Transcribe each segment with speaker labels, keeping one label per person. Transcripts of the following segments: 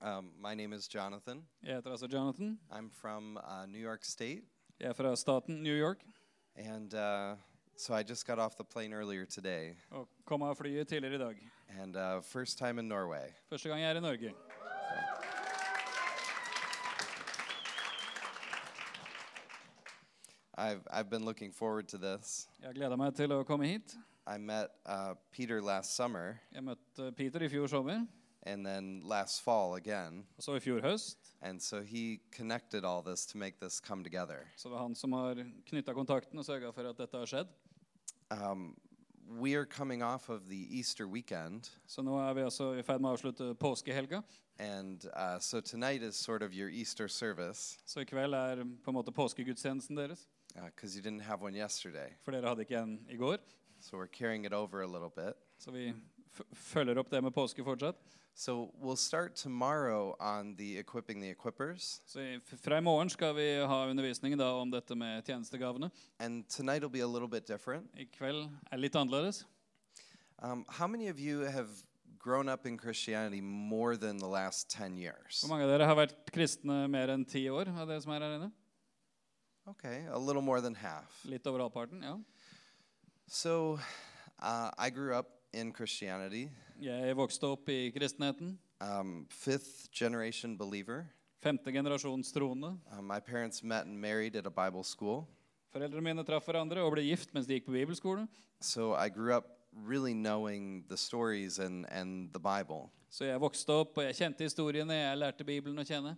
Speaker 1: Um, my name is Jonathan.
Speaker 2: Jeg heter altså Jonathan.
Speaker 1: I'm from uh, New York State,
Speaker 2: Jeg er fra staten New York
Speaker 1: and uh, so I just got off the plane earlier today,
Speaker 2: og kom av flyet tidligere i dag.
Speaker 1: and uh, first time in Norway.
Speaker 2: Første gang jeg er i Norge.
Speaker 1: I've I've been looking forward to this.
Speaker 2: Jeg gleda meg til å komme hit.
Speaker 1: I met uh, Peter last summer,
Speaker 2: Jeg møtte Peter i fjor sommer,
Speaker 1: and then last fall again,
Speaker 2: og så i fjor høst.
Speaker 1: and so he connected all this to make this come together.
Speaker 2: Så det er han som har knytta kontakten og sørga for at dette har skjedd.
Speaker 1: Um, we are coming off of the Easter weekend,
Speaker 2: Så nå er vi altså i ferd med å avslutte påskehelga.
Speaker 1: and uh, so tonight is sort of your Easter service
Speaker 2: Så i kveld er på en måte påskegudstjenesten deres.
Speaker 1: because you didn't have one yesterday.
Speaker 2: For dere hadde ikke en i går.
Speaker 1: So we're carrying it over a little bit.
Speaker 2: Så vi f følger opp det med påske fortsatt.
Speaker 1: So we'll start tomorrow on the equipping the equippers,
Speaker 2: Så i, f- fra i morgen skal vi ha undervisning da om dette med tjenestegavene.
Speaker 1: and tonight will be a little bit different.
Speaker 2: I kveld er litt annerledes.
Speaker 1: Um, how many of you have grown up in Christianity more than the last 10 years?
Speaker 2: Hvor mange av dere har vært kristne mer enn ti år? av dere som er her inne?
Speaker 1: Okay, a little more than half.
Speaker 2: Litt over halvparten, ja.
Speaker 1: So uh, I grew up in Christianity,
Speaker 2: Jeg vokste opp i kristenheten.
Speaker 1: um, fifth generation believer.
Speaker 2: Femte generasjons troende.
Speaker 1: Uh, my parents met and married at a Bible school.
Speaker 2: Foreldrene mine traff hverandre og ble gift mens de gikk på bibelskole.
Speaker 1: So I grew up really knowing the stories and, and the Bible.
Speaker 2: Så jeg vokste opp, og jeg kjente historiene, jeg lærte Bibelen å kjenne.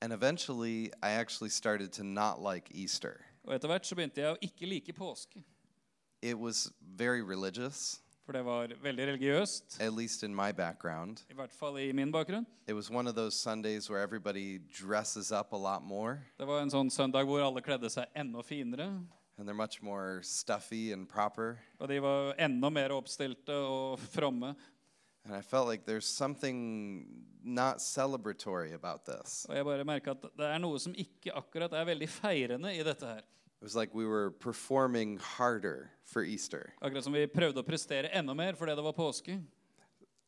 Speaker 1: And eventually, I actually started to not like Easter.
Speaker 2: Og etter hvert så begynte jeg å ikke like påske.
Speaker 1: It was very religious,
Speaker 2: For det var veldig religiøst.
Speaker 1: at least in my background.
Speaker 2: I hvert fall i min bakgrunn.
Speaker 1: It was one of those Sundays where everybody dresses up a lot more
Speaker 2: Det var en sånn søndag hvor alle kledde seg enda finere.
Speaker 1: and they're much more stuffy and proper.
Speaker 2: Og de var enda mer oppstilte og fromme.
Speaker 1: And I felt like there's something not celebratory about this.
Speaker 2: Og jeg bare merka at det er noe som ikke akkurat er veldig feirende i dette her.
Speaker 1: It was like we were performing harder for Easter.
Speaker 2: Akkurat som vi prøvde å prestere enda mer fordi det var påske.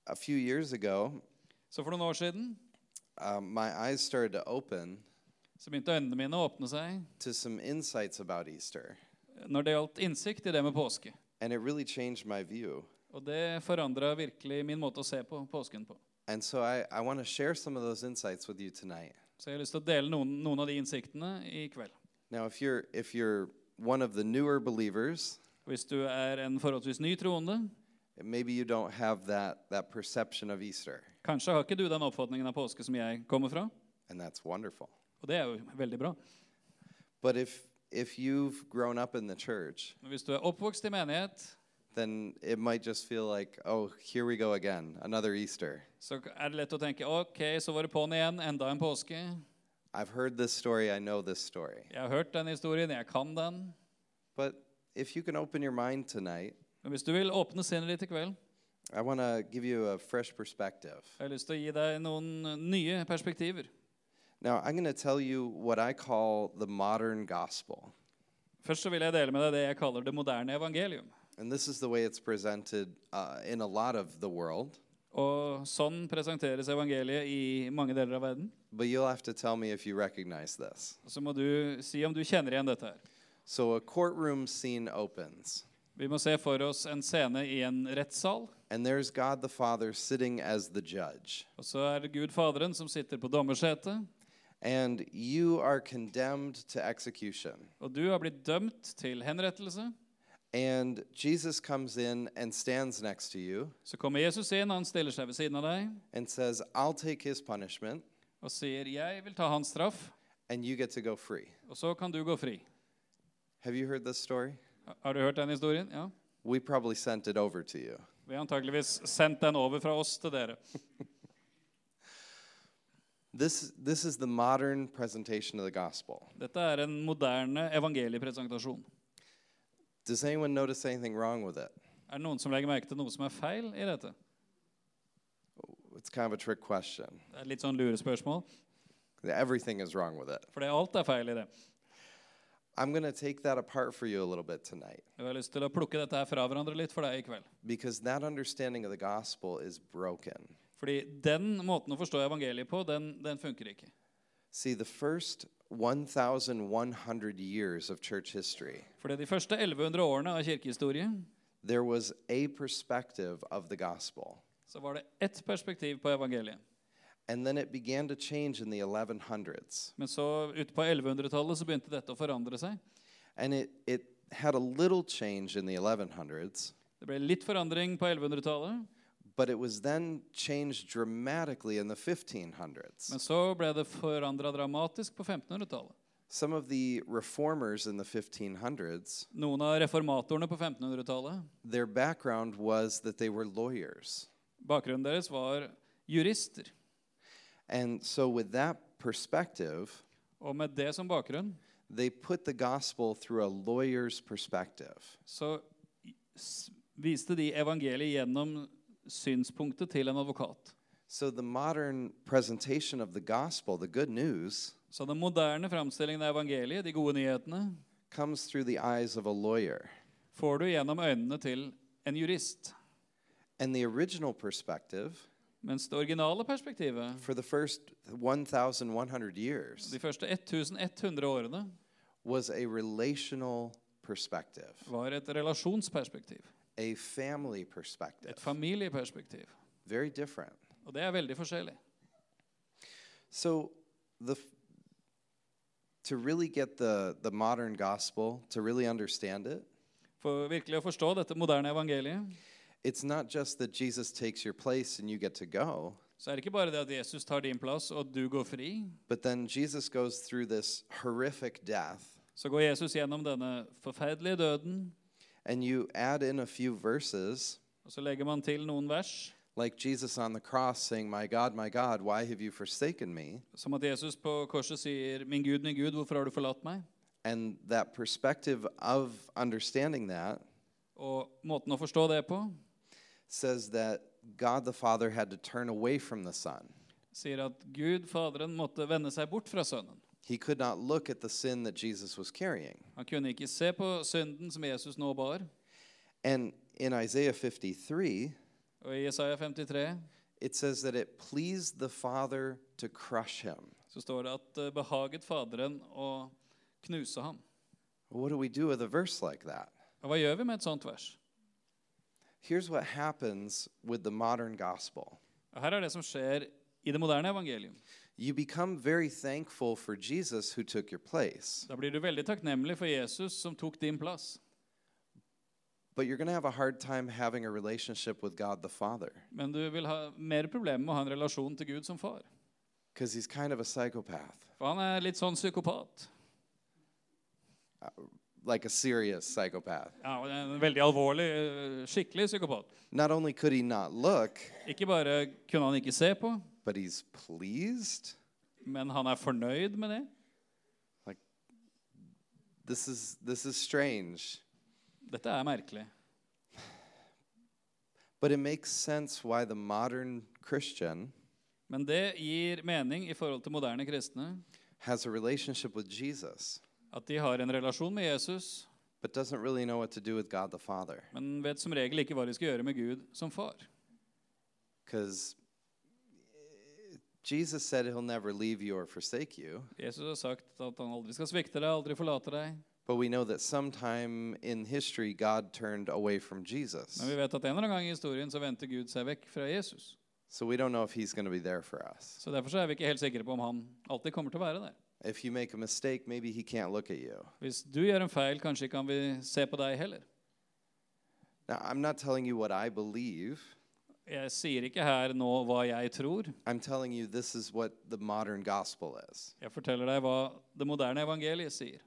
Speaker 1: A few years ago,
Speaker 2: Så for noen år siden
Speaker 1: um, my eyes started to open
Speaker 2: så begynte øynene mine å åpne seg
Speaker 1: to some insights about Easter,
Speaker 2: når det gjaldt innsikt i det med påske.
Speaker 1: and it really changed my view.
Speaker 2: Og det forandra virkelig min måte å se på påsken på.
Speaker 1: And so I, I want to share some of those insights with you tonight.
Speaker 2: Så jeg har lyst til å dele noen, noen av de innsiktene i kveld.
Speaker 1: Now, if you're if you're one of the newer believers,
Speaker 2: Hvis du er en forholdsvis ny troende,
Speaker 1: maybe you don't have that that perception of Easter,
Speaker 2: kanskje har ikke du den oppfatningen av påske som jeg kommer fra.
Speaker 1: and that's wonderful.
Speaker 2: Og det er jo veldig bra.
Speaker 1: But if if you've grown up in the church,
Speaker 2: Men hvis du er oppvokst i menighet,
Speaker 1: then it might just feel like, oh, here we go again, another Easter.
Speaker 2: så er det lett å tenke OK, så var det på'n igjen. Enda en påske.
Speaker 1: I've heard this story, I know this story.
Speaker 2: Jeg har hørt den historien, jeg kan den.
Speaker 1: But if you can open your mind tonight,
Speaker 2: Men hvis du vil åpne sinnet ditt i kveld,
Speaker 1: I want to give you a fresh perspective.
Speaker 2: har jeg lyst til å gi deg noen nye perspektiver.
Speaker 1: Now, I'm going to tell you what I call the modern gospel.
Speaker 2: Først så vil jeg dele med deg det jeg kaller det moderne evangelium.
Speaker 1: And this is the way it's presented uh, in a lot of the world.
Speaker 2: Og sånn presenteres evangeliet i mange deler av verden.
Speaker 1: But you'll have to tell me if you recognize this.
Speaker 2: Og Så må du si om du kjenner igjen dette her.
Speaker 1: So, a courtroom scene opens,
Speaker 2: Vi må se for oss en scene i en rettssal.
Speaker 1: and there's God the Father sitting as the judge.
Speaker 2: Og så er det Gud Faderen som sitter på dommersetet.
Speaker 1: And you are condemned to execution.
Speaker 2: Og du har blitt dømt til henrettelse.
Speaker 1: And Jesus comes in and stands next to you
Speaker 2: Så kommer Jesus inn, han stiller seg ved siden av deg
Speaker 1: and says, I'll take his punishment,
Speaker 2: og sier 'Jeg vil ta hans straff,
Speaker 1: and you get to go free.
Speaker 2: og så kan du gå fri'.
Speaker 1: Have you heard this story?
Speaker 2: Ha- Har du hørt den historien? Ja.
Speaker 1: We probably sent it over to you.
Speaker 2: Vi har antakeligvis sendt den over fra oss til dere.
Speaker 1: This, this is the modern presentation of the gospel.
Speaker 2: Dette er en moderne evangeliepresentasjon.
Speaker 1: Does anyone notice anything wrong with it?
Speaker 2: Er det noen som legger merke til noe som er feil i dette?
Speaker 1: It's kind of a trick question.
Speaker 2: Det er litt sånn lurespørsmål,
Speaker 1: Everything is wrong with it.
Speaker 2: for det alt er feil i det.
Speaker 1: I'm going to take that apart for you a little bit tonight
Speaker 2: Jeg har lyst til å plukke dette her fra hverandre litt for deg i kveld.
Speaker 1: because that understanding of the gospel is broken.
Speaker 2: Fordi den måten å forstå evangeliet på, den, den funker ikke.
Speaker 1: See, the first 1,100 years of church history,
Speaker 2: Fordi de første 1100 årene av kirkehistorie
Speaker 1: there was a perspective of the gospel.
Speaker 2: så var det ett perspektiv på evangeliet.
Speaker 1: And then it began to change in the 1100s.
Speaker 2: Men så ute på 1100-tallet så begynte dette å forandre seg.
Speaker 1: And it, it had a little change in the 1100s,
Speaker 2: Det ble litt forandring på 1100-tallet,
Speaker 1: but it was then changed dramatically in the 1500s.
Speaker 2: men så ble det forandra dramatisk på 1500-tallet.
Speaker 1: Some of the reformers in the 1500s,
Speaker 2: Noen av reformatorene på 1500-tallet,
Speaker 1: their background was that they were lawyers.
Speaker 2: bakgrunnen deres var jurister.
Speaker 1: And so, with that perspective,
Speaker 2: Og med det som bakgrunn
Speaker 1: they put the gospel through a lawyer's perspective.
Speaker 2: så s- viste de evangeliet gjennom synspunktet til en advokat.
Speaker 1: So, the modern presentation of the gospel, the good news,
Speaker 2: Så den moderne framstillingen av evangeliet, de gode nyhetene,
Speaker 1: comes through the eyes of a lawyer.
Speaker 2: får du gjennom øynene til en jurist.
Speaker 1: And the original perspective,
Speaker 2: Mens det originale perspektivet,
Speaker 1: for the first 1,100 years,
Speaker 2: de første 1100 årene,
Speaker 1: was a relational perspective,
Speaker 2: var et relasjonsperspektiv.
Speaker 1: a family perspective.
Speaker 2: Et familieperspektiv.
Speaker 1: Very different.
Speaker 2: Og det er veldig forskjellig.
Speaker 1: So, the, f- to really get the, the modern gospel, to really understand it,
Speaker 2: For virkelig å forstå dette moderne evangeliet,
Speaker 1: it's not just that Jesus takes your place and you get to go,
Speaker 2: så er det ikke bare det at Jesus tar din plass, og du går fri.
Speaker 1: but then Jesus goes through this horrific death,
Speaker 2: Så går Jesus gjennom denne forferdelige døden,
Speaker 1: and you add in a few verses,
Speaker 2: og så legger man til noen vers.
Speaker 1: like Jesus on the cross saying, My God, my God, why have you forsaken me?
Speaker 2: Som at Jesus på korset sier, 'Min Gud, min Gud, hvorfor har du forlatt meg?'
Speaker 1: And that perspective of understanding that
Speaker 2: Og måten å forstå det på
Speaker 1: says that God the Father had to turn away from the Son.
Speaker 2: sier at Gud, Faderen, måtte vende seg bort fra Sønnen.
Speaker 1: He could not look at the sin that Jesus was carrying.
Speaker 2: Han kunne ikke se på synden som Jesus nå bar.
Speaker 1: And in Isaiah 53,
Speaker 2: Og i Jesaja 53
Speaker 1: it says that it pleased the Father to crush him.
Speaker 2: så står det at eh, behaget Faderen å knuse ham.
Speaker 1: What do we do with a verse like that?
Speaker 2: Og hva gjør vi med et sånt vers?
Speaker 1: Here's what happens with the modern gospel
Speaker 2: Og her er det som skjer i det moderne evangelium.
Speaker 1: you become very thankful for Jesus who took your place,
Speaker 2: Da blir du veldig takknemlig for Jesus som tok din plass.
Speaker 1: but you're going to have a hard time having a relationship with God the Father
Speaker 2: Men du vil ha mer problemer med å ha en relasjon til Gud som far.
Speaker 1: because he's kind of a psychopath,
Speaker 2: For han er litt sånn psykopat.
Speaker 1: like a serious psychopath.
Speaker 2: Ja, og en veldig alvorlig, eh, skikkelig psykopat.
Speaker 1: Not only could he not look,
Speaker 2: Ikke bare kunne han ikke se på,
Speaker 1: but he's pleased.
Speaker 2: men han er fornøyd med det.
Speaker 1: Like this is this is strange,
Speaker 2: Dette er merkelig.
Speaker 1: but it makes sense why the modern Christian
Speaker 2: Men det gir mening i forhold til moderne kristne.
Speaker 1: has a relationship with Jesus
Speaker 2: At de har en relasjon med Jesus,
Speaker 1: but doesn't really know what to do with God the Father
Speaker 2: men vet som regel ikke hva de skal gjøre med Gud som far.
Speaker 1: cuz Jesus said he'll never leave you or forsake you,
Speaker 2: Jesus har sagt at han aldri skal svikte deg, aldri forlate deg.
Speaker 1: but we know that sometime in history God turned away from Jesus.
Speaker 2: Men vi vet at en eller annen gang i historien så vendte Gud seg vekk fra Jesus.
Speaker 1: So we don't know if he's going to be there for us.
Speaker 2: Så derfor så er vi ikke helt sikre på om han alltid kommer til å være der.
Speaker 1: If you make a mistake, maybe he can't look at you.
Speaker 2: Hvis du gjør en feil, kanskje ikke han vil se på deg heller.
Speaker 1: Now, I'm not telling you what I believe.
Speaker 2: Jeg sier ikke her nå hva jeg tror.
Speaker 1: I'm telling you, this is what the modern gospel is.
Speaker 2: Jeg forteller deg hva det moderne evangeliet sier.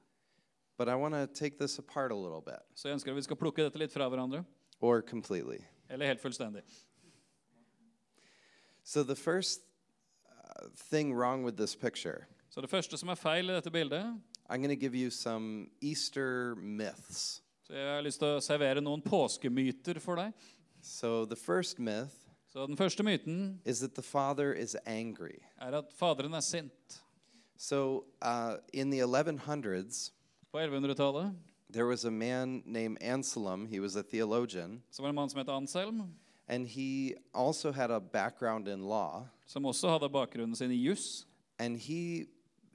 Speaker 1: But I want to take this apart a little bit,
Speaker 2: Så jeg ønsker at vi skal plukke dette litt fra hverandre.
Speaker 1: or completely.
Speaker 2: Eller helt fullstendig.
Speaker 1: So, the first uh, thing wrong with this picture,
Speaker 2: Så det første som er feil i dette bildet
Speaker 1: I'm going to give you some Easter myths.
Speaker 2: Så jeg har lyst til å servere noen påskemyter for deg.
Speaker 1: So, the first myth
Speaker 2: Så den første myten
Speaker 1: is that the Father is angry.
Speaker 2: er at Faderen er sint.
Speaker 1: So, uh, in the 1100s,
Speaker 2: På 1100-tallet
Speaker 1: there was a man named Anselm. He was a theologian,
Speaker 2: så var det en mann som het Anselm.
Speaker 1: And he also had a background in law,
Speaker 2: som også hadde bakgrunnen sin i juss.
Speaker 1: and he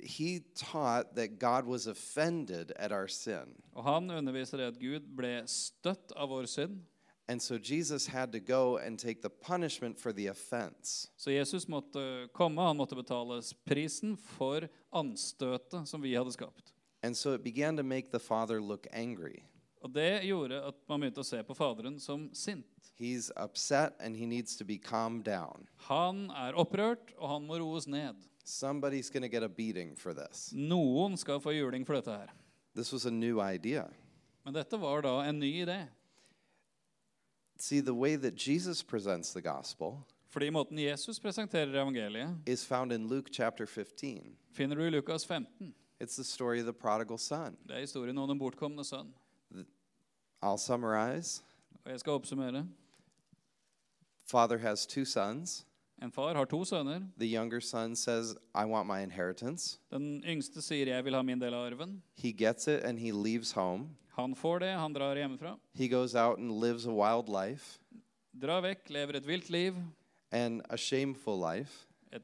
Speaker 1: he taught that God was offended at our sin.
Speaker 2: Og han underviser at Gud ble støtt av vår synd,
Speaker 1: And so Jesus had to go and take the punishment for the offense.
Speaker 2: så Jesus måtte komme, han måtte betale prisen for anstøtet som vi hadde skapt.
Speaker 1: And so it began to make the Father look angry.
Speaker 2: Og det gjorde at man begynte å se på Faderen som sint.
Speaker 1: He's upset and he needs to be calmed down.
Speaker 2: Han er opprørt, og han må roes ned.
Speaker 1: Somebody's going to get a beating for this.
Speaker 2: Noen skal få juling for dette her.
Speaker 1: This was a new idea.
Speaker 2: Men dette var da en ny idé.
Speaker 1: See, the way that Jesus presents the gospel
Speaker 2: Fordi måten Jesus presenterer evangeliet,
Speaker 1: is found in Luke chapter 15.
Speaker 2: finner du i Lukas 15.
Speaker 1: It's the story of the prodigal son.
Speaker 2: Det er historien om den bortkomne sønn.
Speaker 1: I'll summarize.
Speaker 2: Og jeg skal oppsummere.
Speaker 1: Father has two sons.
Speaker 2: En far har to sønner.
Speaker 1: The younger son says, I want my inheritance.
Speaker 2: Den yngste sier 'jeg vil ha min del av arven'.
Speaker 1: He gets it and he leaves home.
Speaker 2: Han får det, han drar hjemmefra.
Speaker 1: He goes out and lives a wild life
Speaker 2: Drar vekk, lever et vilt liv,
Speaker 1: and a shameful life,
Speaker 2: et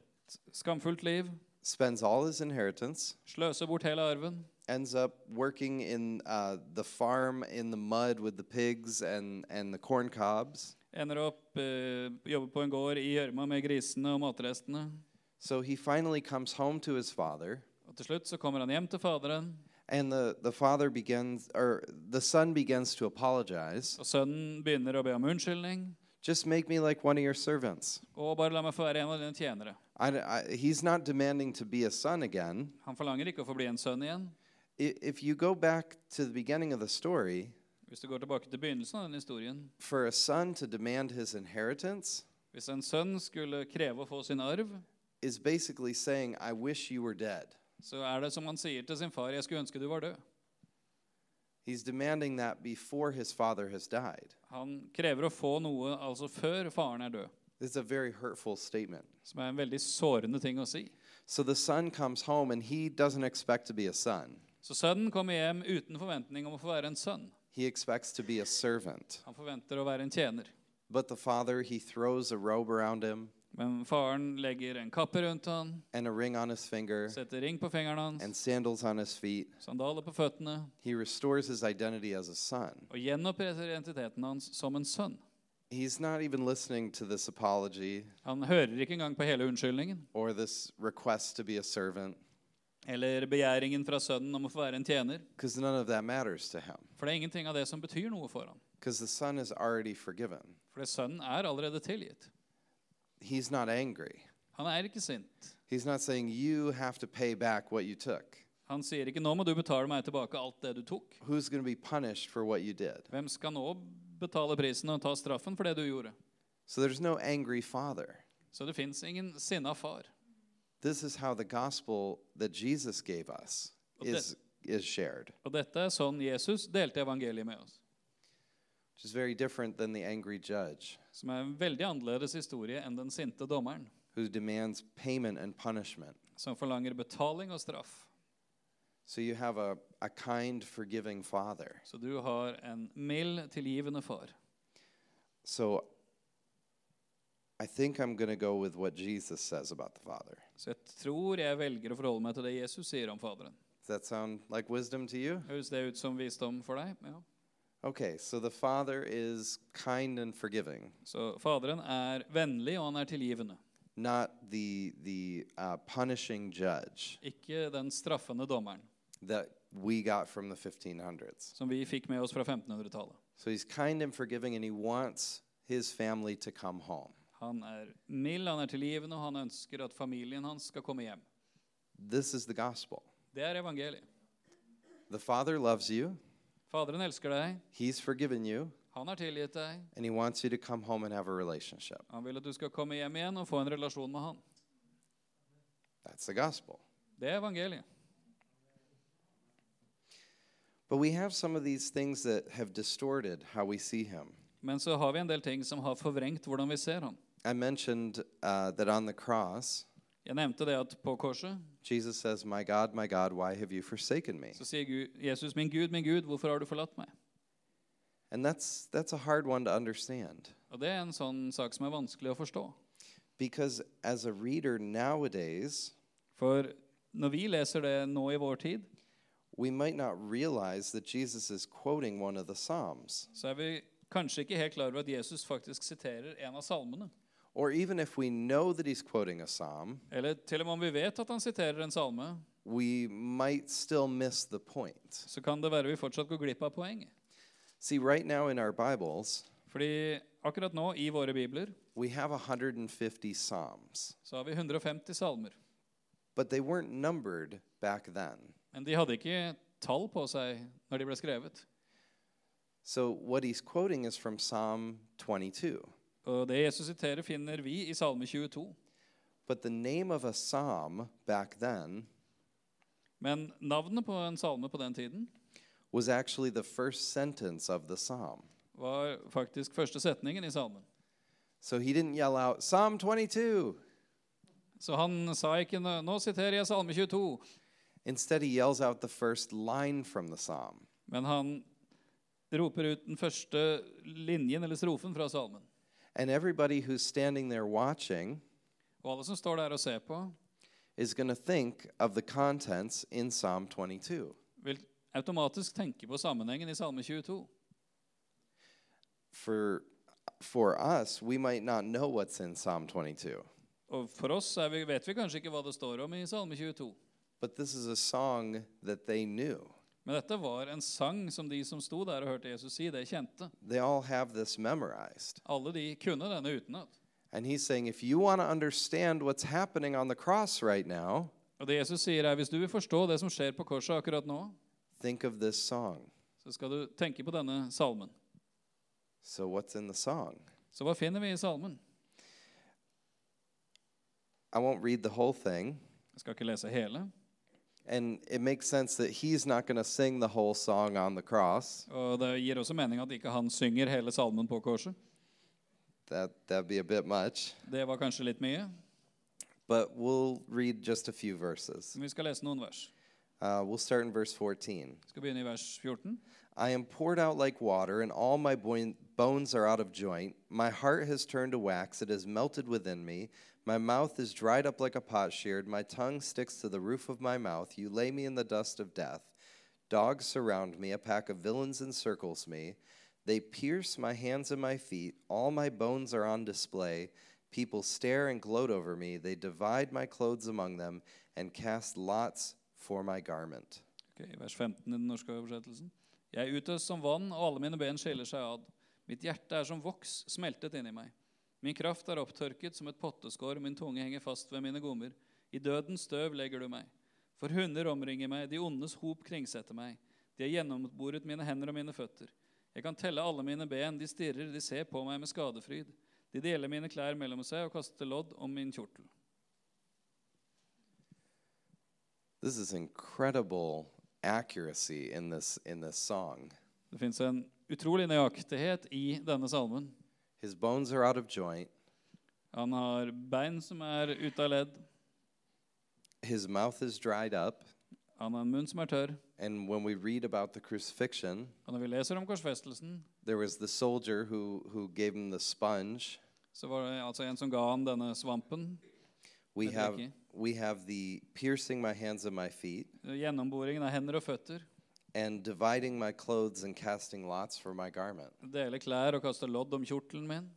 Speaker 2: skamfullt liv.
Speaker 1: spends all his inheritance,
Speaker 2: Sløser bort hele arven.
Speaker 1: ends up working in uh, the farm in the mud with the pigs and, and the corn cobs.
Speaker 2: Ender opp eh, jobber på en gård i gjørma med grisene og matrestene.
Speaker 1: So he finally comes home to his father,
Speaker 2: Og til slutt så kommer han hjem til faderen,
Speaker 1: and the, the father begins, or the son begins to apologize.
Speaker 2: og sønnen begynner å be om unnskyldning.
Speaker 1: Just make me like one of your servants.
Speaker 2: Og bare la meg få være en av dine tjenere.
Speaker 1: I, I- he's not demanding to be a son again.
Speaker 2: Han forlanger ikke å få bli en sønn igjen.
Speaker 1: I- If you go back to the beginning of the story,
Speaker 2: Hvis du går tilbake til begynnelsen av den historien
Speaker 1: for a son to demand his inheritance
Speaker 2: Hvis en sønn skulle kreve å få sin arv,
Speaker 1: is basically saying, I wish you were dead.
Speaker 2: så er det som han sier til sin far 'Jeg skulle ønske du var død'.
Speaker 1: He's demanding that before his father has died.
Speaker 2: Han krever å få noe altså før faren er død,
Speaker 1: It's a very hurtful statement.
Speaker 2: som er en veldig sårende ting å si.
Speaker 1: So the son comes home and he doesn't expect to be a son.
Speaker 2: Så sønnen kommer hjem uten forventning om å få være en sønn.
Speaker 1: He expects to be a servant.
Speaker 2: Han forventer å være en tjener.
Speaker 1: But the father, he throws a robe around him
Speaker 2: Men faren legger en kappe rundt han,
Speaker 1: and a ring on his finger
Speaker 2: setter ring på
Speaker 1: and
Speaker 2: fingeren hans,
Speaker 1: sandals on his feet.
Speaker 2: sandaler på føttene
Speaker 1: He restores his identity as a son.
Speaker 2: og gjenoppretter identiteten hans som en sønn.
Speaker 1: He's not even listening to this apology
Speaker 2: Han hører ikke engang på hele unnskyldningen
Speaker 1: or this request to be a servant
Speaker 2: eller begjæringen fra sønnen om å få være en tjener,
Speaker 1: because none of that matters to him
Speaker 2: for det er ingenting av det som betyr noe for han.
Speaker 1: because the son is already forgiven.
Speaker 2: For det sønnen er allerede tilgitt.
Speaker 1: He's not angry.
Speaker 2: Han er ikke sint.
Speaker 1: He's not saying, You have to pay back what you took.
Speaker 2: Han sier ikke 'nå må du betale meg tilbake alt det du tok'.
Speaker 1: Who's going to be punished for what you did?
Speaker 2: Hvem skal nå betale prisen og ta straffen for det du gjorde?
Speaker 1: So there's no angry father.
Speaker 2: Så det fins ingen sinna far.
Speaker 1: This is how the gospel that Jesus gave us
Speaker 2: Well,
Speaker 1: is, is shared,
Speaker 2: Og dette er sånn Jesus delte evangeliet med oss.
Speaker 1: which is very different than the angry judge
Speaker 2: Som er en veldig annerledes historie enn den sinte dommeren,
Speaker 1: who demands payment and punishment.
Speaker 2: som forlanger betaling og straff.
Speaker 1: So you have a, a kind, forgiving father.
Speaker 2: Så du har en mild, tilgivende far.
Speaker 1: So I think I'm going to go with what Jesus says about the father.
Speaker 2: Så jeg tror jeg velger å forholde meg til det Jesus sier om Faderen.
Speaker 1: Does that sound like wisdom to you?
Speaker 2: Høres det ut som visdom for deg? Ja.
Speaker 1: Okay, so the Father is kind and forgiving,
Speaker 2: Så Faderen er vennlig, og han er tilgivende.
Speaker 1: not the the uh, punishing judge
Speaker 2: Ikke den straffende dommeren
Speaker 1: that we got from the 1500s.
Speaker 2: som vi fikk med oss fra 1500-tallet.
Speaker 1: So he's kind and forgiving, and he wants his family to come home.
Speaker 2: Han er mild, han er tilgivende, og han ønsker at familien hans skal komme hjem.
Speaker 1: This is the gospel.
Speaker 2: Det er evangeliet.
Speaker 1: The Father loves you.
Speaker 2: Faderen elsker deg,
Speaker 1: He's forgiven you,
Speaker 2: han har tilgitt deg.
Speaker 1: and he wants you to come home and have a relationship.
Speaker 2: Han vil at du skal komme hjem igjen og få en relasjon med han.
Speaker 1: That's the gospel.
Speaker 2: Det er evangeliet.
Speaker 1: But we have some of these things that have distorted how we see him.
Speaker 2: Men så har vi en del ting som har forvrengt hvordan vi ser han.
Speaker 1: I mentioned uh, that on the cross,
Speaker 2: Jeg nevnte det at på korset
Speaker 1: Jesus says, My God, my God, why have you forsaken me?
Speaker 2: så sier Gud, Jesus, 'Min Gud, min Gud, hvorfor har du forlatt meg?'
Speaker 1: And that's that's a hard one to understand
Speaker 2: Og det er en sånn sak som er vanskelig å forstå.
Speaker 1: Because as a reader nowadays,
Speaker 2: For når vi leser det nå i vår tid,
Speaker 1: we might not realize that Jesus is quoting one of the Psalms.
Speaker 2: så er vi kanskje ikke helt klar over at Jesus faktisk siterer en av salmene.
Speaker 1: Or even if we know that he's quoting a Psalm,
Speaker 2: Eller til og med om vi vet at han siterer en salme,
Speaker 1: we might still miss the point.
Speaker 2: så kan det være vi fortsatt går glipp av poenget.
Speaker 1: See, right now in our Bibles,
Speaker 2: Fordi akkurat nå, i våre bibler,
Speaker 1: we have 150 Psalms,
Speaker 2: så har vi 150 salmer.
Speaker 1: but they weren't numbered back then.
Speaker 2: Men de hadde ikke tall på seg når de ble skrevet.
Speaker 1: So what he's quoting is from Psalm 22.
Speaker 2: Og det Jesus siterer, finner vi i Salme 22.
Speaker 1: But the name of a psalm back then
Speaker 2: Men navnet på en salme på den tiden
Speaker 1: was actually the first sentence of the psalm.
Speaker 2: var faktisk første setningen i salmen.
Speaker 1: So he didn't yell out, Psalm 22.
Speaker 2: Så han sa ikke nå nå siterer jeg Salme 22,
Speaker 1: Instead, he yells out the first line from the psalm.
Speaker 2: men han roper ut den første linjen eller strofen fra salmen.
Speaker 1: And everybody who's standing there watching
Speaker 2: Og alle som står der og ser på,
Speaker 1: is going to think of the contents in Psalm 22.
Speaker 2: vil automatisk tenke på sammenhengen i Salme 22.
Speaker 1: For, for us, we might not know what's in Psalm 22,
Speaker 2: Og for oss er vi, vet vi kanskje ikke hva det står om i Salme 22.
Speaker 1: but this is a song that they knew.
Speaker 2: Men dette var en sang som de som sto der og hørte Jesus si, det kjente.
Speaker 1: They all have this memorized.
Speaker 2: Alle de kunne denne utenat.
Speaker 1: And he's saying, if you want to understand what's happening on the cross right now,
Speaker 2: Og det Jesus sier er, hvis du vil forstå det som skjer på korset akkurat nå,
Speaker 1: think of this song.
Speaker 2: så skal du tenke på denne salmen.
Speaker 1: So, what's in the song?
Speaker 2: Så hva finner vi i salmen?
Speaker 1: I won't read the whole thing.
Speaker 2: Jeg skal ikke lese hele.
Speaker 1: And it makes sense that he's not going to sing the whole song on the cross.
Speaker 2: Og det gir også mening at ikke han synger hele salmen på korset.
Speaker 1: That, that'd be a bit much.
Speaker 2: Det var kanskje litt mye,
Speaker 1: But we'll read just a few verses.
Speaker 2: men vi skal lese noen vers.
Speaker 1: Uh, we'll start in verse 14.
Speaker 2: Vi skal begynne i vers 14.
Speaker 1: I am poured out like water, and all my boin- bones are out of joint. My heart has turned to wax, it has melted within me. My mouth is dried up like a potsherd, my tongue sticks to the roof of my mouth. You lay me in the dust of death. Dogs surround me, a pack of villains encircles me. They pierce my hands and my feet, all my bones are on display. People stare and gloat over me, they divide my clothes among them, and cast lots for my garment.
Speaker 2: Ok, vers 15 i den norske oversettelsen. Jeg utøst som vann, og alle mine ben skiller seg ad. Mitt hjerte er som voks smeltet inni meg. Min kraft er opptørket som et potteskår, og min tunge henger fast ved mine gommer. I dødens støv legger du meg. For hunder omringer meg, de ondes hop kringsetter meg. De har gjennomboret mine hender og mine føtter. Jeg kan telle alle mine ben, de stirrer, de ser på meg med skadefryd. De deler mine klær mellom seg og kaster lodd om min kjortel.
Speaker 1: This is incredible accuracy in this in this song.
Speaker 2: Det fins en utrolig nøyaktighet i denne salmen.
Speaker 1: His bones are out of joint.
Speaker 2: Han har bein som er ute av ledd.
Speaker 1: His mouth is dried up.
Speaker 2: Han har en munn som er tørr.
Speaker 1: And when we read about the crucifixion,
Speaker 2: Og når vi leser om korsfestelsen,
Speaker 1: there was the soldier who who gave him the sponge.
Speaker 2: så var det altså en som ga han denne svampen.
Speaker 1: We
Speaker 2: That's
Speaker 1: have
Speaker 2: lucky.
Speaker 1: we have the piercing my hands and my feet
Speaker 2: Gjennomboringen av hender og føtter.
Speaker 1: and dividing my clothes and casting lots for my garment.
Speaker 2: Dele klær og kaste lodd om kjortelen min.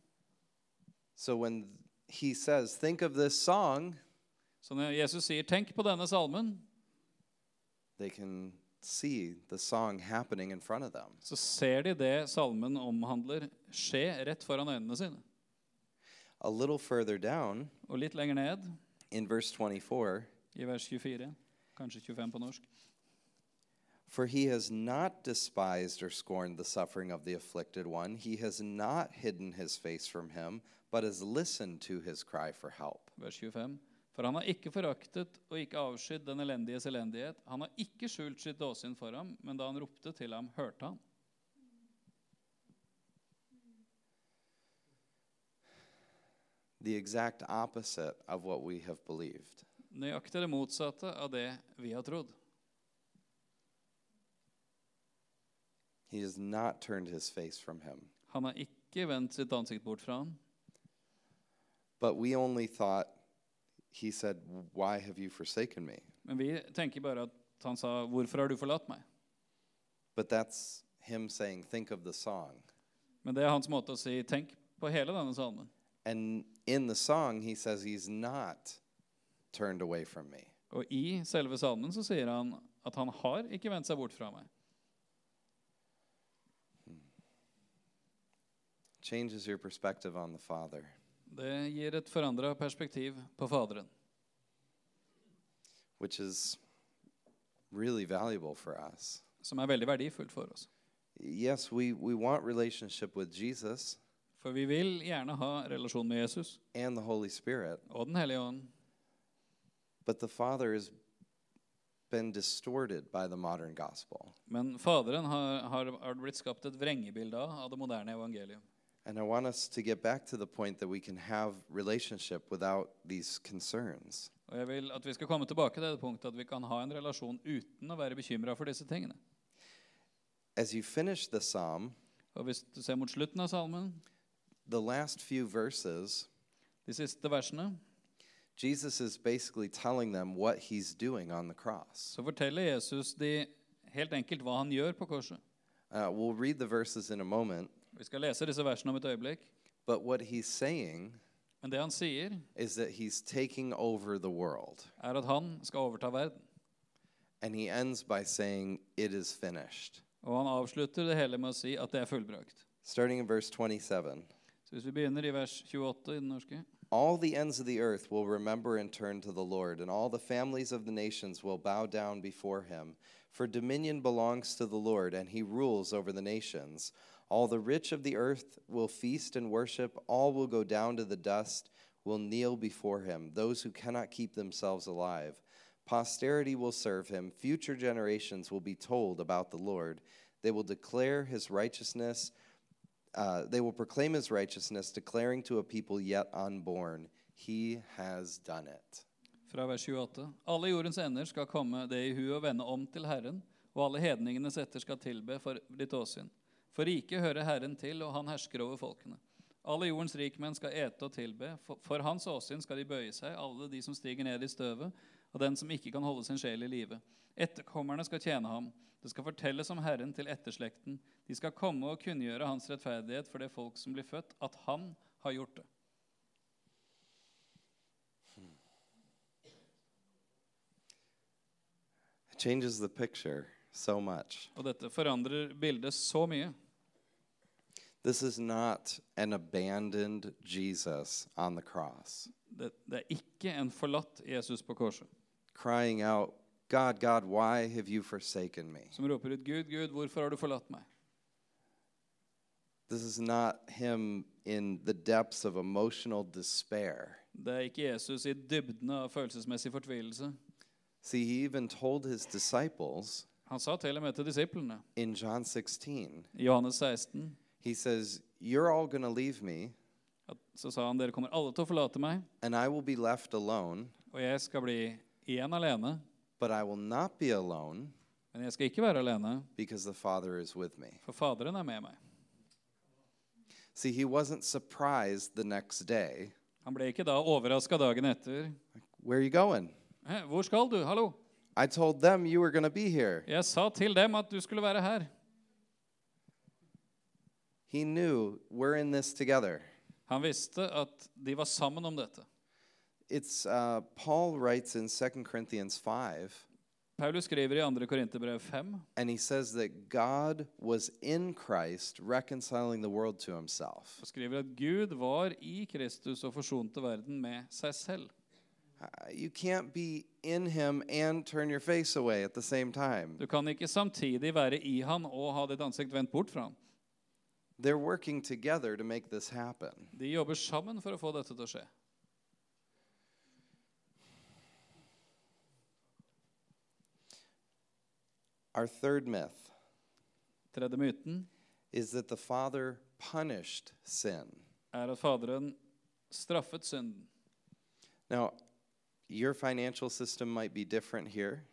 Speaker 1: So when he says, "Think of this song,"
Speaker 2: Så når Jesus sier 'tenk på denne salmen',
Speaker 1: they can see the song happening in front of them.
Speaker 2: så ser de det salmen omhandler, skje rett foran øynene sine.
Speaker 1: A little further down
Speaker 2: Og litt lenger ned,
Speaker 1: in verse 24,
Speaker 2: i vers 24, kanskje 25 på norsk
Speaker 1: For he has not despised or scorned the suffering of the afflicted one. He has not hidden his face from him, but has listened to his cry for help.
Speaker 2: vers 25. For han har ikke foraktet og ikke avskydd den elendiges elendighet. Han har ikke skjult sitt dåsyn for ham, men da han ropte til ham, hørte han.
Speaker 1: The exact opposite of what we have believed.
Speaker 2: Nøyaktig det motsatte av det vi har trodd.
Speaker 1: He has not turned his face from him.
Speaker 2: Han har ikke ikke vendt sitt ansikt bort fra ham.
Speaker 1: But we only thought, he said, Why have you forsaken me?
Speaker 2: Men vi tenker bare at han sa, 'Hvorfor har du forlatt meg?'
Speaker 1: But that's him saying, Think of the song.
Speaker 2: Men det er hans måte å si 'tenk på hele denne salmen'.
Speaker 1: And in the song, he says, He's not turned away from me.
Speaker 2: Og i selve salmen så sier han at han har ikke vendt seg bort fra meg.
Speaker 1: Changes your perspective on the Father.
Speaker 2: Det gir et forandra perspektiv på Faderen,
Speaker 1: which is really valuable for us.
Speaker 2: som er veldig verdifullt for oss.
Speaker 1: Yes, we, we want relationship with Jesus
Speaker 2: For vi vil gjerne ha relasjon med Jesus
Speaker 1: and the Holy Spirit,
Speaker 2: og Den hellige ånd,
Speaker 1: but the Father has been distorted by the modern gospel.
Speaker 2: men Faderen har, har, har blitt skapt et vrengebilde av av det moderne evangelium.
Speaker 1: And I want us to get back to the point that we can have relationship without these concerns.
Speaker 2: Og jeg vil at vi skal komme tilbake til det punktet at vi kan ha en relasjon uten å være bekymra for disse tingene.
Speaker 1: As you finish the psalm,
Speaker 2: Og hvis du ser mot slutten av salmen,
Speaker 1: the last few verses,
Speaker 2: de siste versene,
Speaker 1: Jesus is basically telling them what he's doing on the cross.
Speaker 2: så forteller Jesus de helt enkelt hva han gjør på korset.
Speaker 1: Uh, we'll read the verses in a moment,
Speaker 2: Vi skal lese disse versene om et øyeblikk.
Speaker 1: but what he's saying
Speaker 2: Men det han sier,
Speaker 1: is that he's taking over the world.
Speaker 2: er at han skal overta verden.
Speaker 1: And he ends by saying, It is finished.
Speaker 2: Og han avslutter det hele med å si at det er fullbrakt.
Speaker 1: Starting in verse 27.
Speaker 2: Så hvis vi begynner i vers 28 i den norske
Speaker 1: All the ends of the earth will remember and turn to the Lord, and all the families of the nations will bow down before him. For dominion belongs to the Lord, and he rules over the nations. All the rich of the earth will feast and worship, all will go down to the dust, will kneel before him, those who cannot keep themselves alive. Posterity will serve him, future generations will be told about the Lord. They will declare his righteousness. Uh, they will proclaim his righteousness, declaring to a people yet unborn, He has done it.
Speaker 2: fra vers 28. Alle jordens ender skal komme det i hu og vende om til Herren, og alle hedningenes etter skal tilbe for ditt åsyn. For riket hører Herren til, og han hersker over folkene. Alle jordens rikmenn skal ete og tilbe. For, for hans åsyn skal de bøye seg, alle de som stiger ned i støvet, og den som ikke kan holde sin sjel i live. Etterkommerne skal tjene ham. Det skal fortelles om Herren til etterslekten. De skal komme og kunngjøre hans rettferdighet for det folk som blir født, at han har gjort det.
Speaker 1: It changes the picture so much.
Speaker 2: Og dette forandrer bildet så mye.
Speaker 1: This is not an abandoned Jesus on the cross,
Speaker 2: Det, det er ikke en forlatt Jesus på korset
Speaker 1: crying out, God, God, why have you forsaken me?
Speaker 2: som roper ut 'Gud, Gud, hvorfor har du forlatt meg?'
Speaker 1: This is not him in the depths of emotional despair.
Speaker 2: Det er ikke Jesus i dybdene av følelsesmessig fortvilelse.
Speaker 1: See, he even told his disciples
Speaker 2: Han sa til og med til disiplene
Speaker 1: in John 16,
Speaker 2: i Johannes 16
Speaker 1: he says, You're all going to leave me,
Speaker 2: at, Så sa han 'Dere kommer alle til å forlate meg,
Speaker 1: and I will be left alone.
Speaker 2: og jeg skal bli igjen alene.'
Speaker 1: But I will not be alone
Speaker 2: Men jeg skal ikke være alene,
Speaker 1: because the Father is with me.
Speaker 2: for Faderen er med meg.
Speaker 1: See, he wasn't surprised the next day.
Speaker 2: Han ble ikke da overraska dagen etter.
Speaker 1: Where are you going?
Speaker 2: Hæ, 'Hvor skal du? Hallo?'
Speaker 1: I told them you were going to be here.
Speaker 2: Jeg sa til dem at du skulle være her.
Speaker 1: He knew we're in this together.
Speaker 2: Han visste at de var sammen om dette.
Speaker 1: It's uh, Paul writes in 2 Corinthians 5,
Speaker 2: Paulus skriver i 2. Korinterbrev 5
Speaker 1: and he says that God was in Christ reconciling the world to himself.
Speaker 2: og skriver at Gud var i Kristus og forsonte verden med seg selv.
Speaker 1: Uh, You can't be in him and turn your face away at the same time.
Speaker 2: Du kan ikke samtidig være i han og ha ditt ansikt vendt bort fra han.
Speaker 1: They're working together to make this happen.
Speaker 2: De jobber sammen for å få dette til å skje.
Speaker 1: Our third myth
Speaker 2: Tredje myten
Speaker 1: is that the Father punished sin.
Speaker 2: er at Faderen straffet synden.
Speaker 1: Now, your financial system might be different here,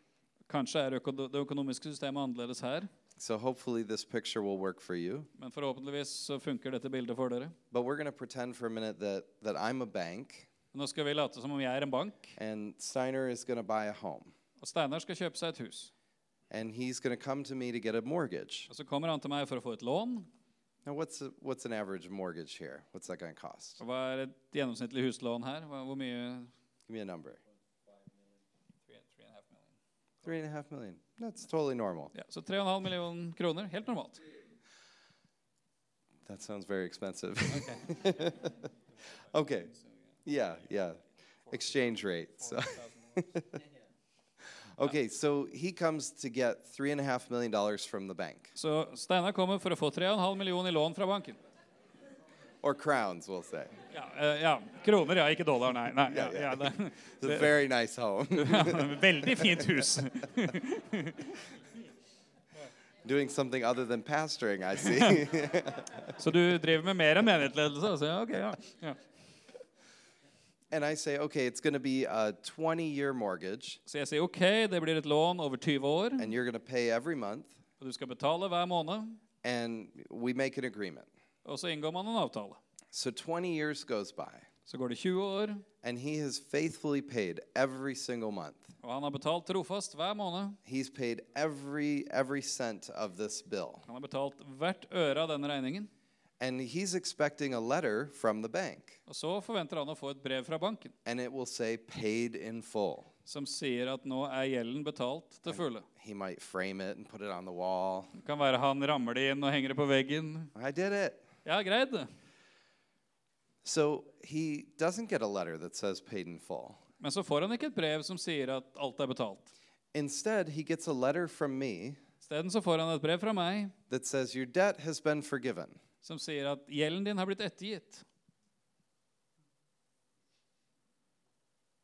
Speaker 2: Kanskje er øko det økonomiske systemet annerledes her,
Speaker 1: So hopefully this picture will work for you.
Speaker 2: Men forhåpentligvis så funker dette bildet for dere.
Speaker 1: But we're going to pretend for a minute that, that I'm a bank
Speaker 2: Nå skal vi late som om jeg er en bank,
Speaker 1: and Steiner is going to buy a home.
Speaker 2: og Steinar skal kjøpe seg et hus.
Speaker 1: And he's going to come to me to get a mortgage.
Speaker 2: Og så kommer han til meg for å få et lån.
Speaker 1: Now, what's, a, what's an average mortgage here? What's that going to cost?
Speaker 2: Og hva er et gjennomsnittlig huslån her? Hva, hvor mye?
Speaker 1: Give me a number. Three and a half million. That's totally normal.
Speaker 2: Ja, så 3,5 millioner kroner. Helt normalt.
Speaker 1: That sounds very expensive. okay. Yeah, yeah. Exchange rate. So. okay, so he comes to get three and a half million dollars from the bank,
Speaker 2: Så Steinar kommer for å få 3,5 millioner i lån fra banken.
Speaker 1: or crowns, we'll say.
Speaker 2: Ja, eh, ja. Kroner, ja. Ikke dollar, nei. nei ja, ja, det,
Speaker 1: It's a very nice home.
Speaker 2: ja, veldig fint hus.
Speaker 1: Doing something other than pastoring, I see.
Speaker 2: Så du driver med mer enn menighetsledelse? Altså, ja, ok, ja. Ja.
Speaker 1: and I say, okay, it's going to be a 20 year mortgage,
Speaker 2: Så jeg sier ok, det blir et lån over 20 år,
Speaker 1: and you're going to pay every month,
Speaker 2: og du skal betale hver måned.
Speaker 1: and we make an agreement.
Speaker 2: Og så inngår man en avtale.
Speaker 1: So 20 years goes by,
Speaker 2: Så går det 20 år,
Speaker 1: and he has faithfully paid every single month.
Speaker 2: og han har betalt trofast hver måned.
Speaker 1: He's paid every every cent of this bill.
Speaker 2: Han har betalt hvert øre av denne regningen.
Speaker 1: And he's expecting a letter from the bank
Speaker 2: Og så forventer han å få et brev fra banken
Speaker 1: and it will say paid in full.
Speaker 2: som sier at nå er gjelden betalt til fulle.
Speaker 1: He might frame it and put it on the wall.
Speaker 2: Det kan være han rammer det inn og henger det på veggen.
Speaker 1: I did it.
Speaker 2: Ja, greit det.
Speaker 1: So he doesn't get a letter that says paid in full.
Speaker 2: Men så får han ikke et brev som sier at alt er betalt.
Speaker 1: Instead, he gets a letter from me
Speaker 2: Isteden så får han et brev fra meg
Speaker 1: that says your debt has been forgiven.
Speaker 2: som sier at gjelden din har blitt ettergitt.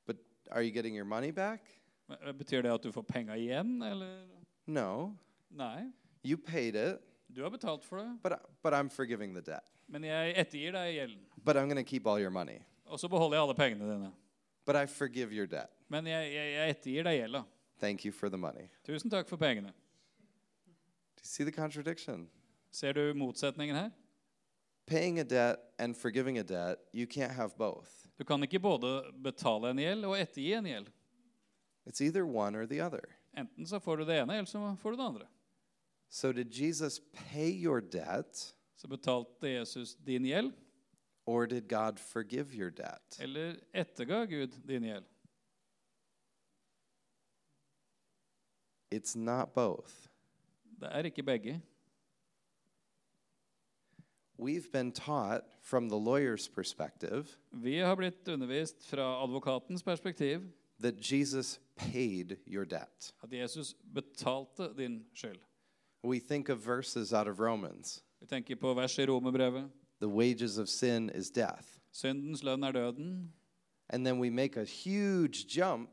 Speaker 1: But are you getting your money back?
Speaker 2: Men, eh, Betyr det at du får penga igjen, eller?
Speaker 1: No.
Speaker 2: Nei.
Speaker 1: You paid it,
Speaker 2: Du har betalt for det,
Speaker 1: but but I'm forgiving the debt.
Speaker 2: men jeg ettergir deg gjelden.
Speaker 1: But I'm going to keep all your money.
Speaker 2: Og så beholder jeg alle pengene dine.
Speaker 1: But I forgive your debt.
Speaker 2: Men jeg, jeg, jeg ettergir deg gjelda.
Speaker 1: Thank you for the money.
Speaker 2: Tusen takk for pengene.
Speaker 1: Do you see the contradiction?
Speaker 2: Ser du motsetningen her?
Speaker 1: Paying a debt and forgiving a debt, you can't have both.
Speaker 2: Du kan ikke både betale en gjeld og ettergi en gjeld.
Speaker 1: It's either one or the other.
Speaker 2: Enten så får du det ene, eller så får du det andre.
Speaker 1: So, did Jesus pay your debt
Speaker 2: Så betalte Jesus din gjeld,
Speaker 1: or did God forgive your debt?
Speaker 2: eller etterga Gud din gjeld?
Speaker 1: It's not both.
Speaker 2: Det er ikke begge.
Speaker 1: We've been taught from the lawyer's perspective
Speaker 2: Vi har blitt undervist fra advokatens perspektiv
Speaker 1: that Jesus paid your debt.
Speaker 2: at Jesus betalte din skyld.
Speaker 1: We think of verses out of Romans
Speaker 2: Vi tenker på vers i romerbrevet.
Speaker 1: the wages of sin is death.
Speaker 2: Syndens lønn er døden.
Speaker 1: And then we make a huge jump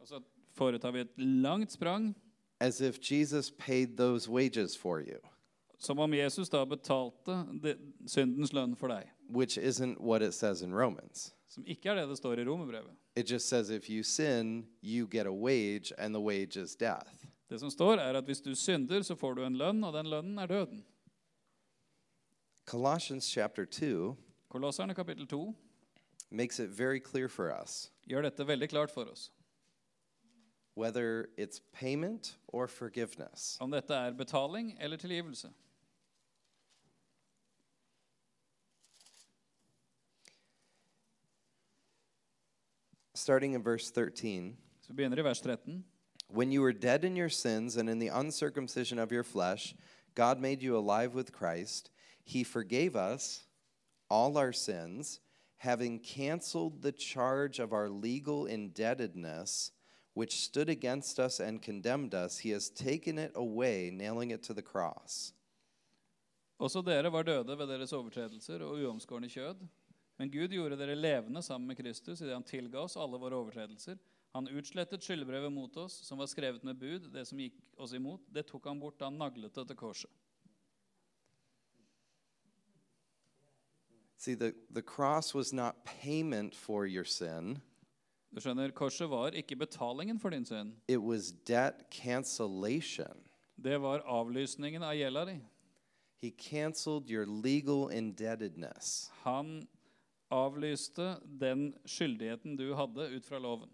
Speaker 2: Og så foretar vi et langt sprang,
Speaker 1: as if Jesus paid those wages for you,
Speaker 2: som om Jesus da betalte de, syndens lønn for deg.
Speaker 1: which isn't what it says in Romans.
Speaker 2: Som ikke er det det står i romerbrevet.
Speaker 1: It just says if you sin, you get a wage, and the wage is death.
Speaker 2: Det som står, er at hvis du synder, så får du en lønn, og den lønnen er døden.
Speaker 1: Colossians chapter 2
Speaker 2: Kolosserne kapittel 2
Speaker 1: makes it very clear for us
Speaker 2: gjør dette veldig klart for oss.
Speaker 1: whether it's payment or forgiveness.
Speaker 2: Om dette er betaling eller tilgivelse.
Speaker 1: Starting in verse 13,
Speaker 2: Så vi begynner i vers 13.
Speaker 1: when you were dead in your sins and in the uncircumcision of your flesh, God made you alive with Christ. He forgave us all our sins, having canceled the charge of our legal indebtedness, which stood against us and condemned us. He has taken it away, nailing it to the cross.
Speaker 2: Også dere var døde ved deres overtredelser og uomskårne kjød. Men Gud gjorde dere levende sammen med Kristus idet han tilga oss alle våre overtredelser. Han utslettet skyldbrevet mot oss, som var skrevet med bud, det som gikk oss imot. Det tok han bort da han naglet det til korset.
Speaker 1: See, the, the cross was not payment for your sin,
Speaker 2: Du skjønner, Korset var ikke betalingen for din synd.
Speaker 1: it was debt cancellation.
Speaker 2: Det var avlysningen av gjelda di.
Speaker 1: He canceled your legal indebtedness.
Speaker 2: Han avlyste den skyldigheten du hadde ut fra loven.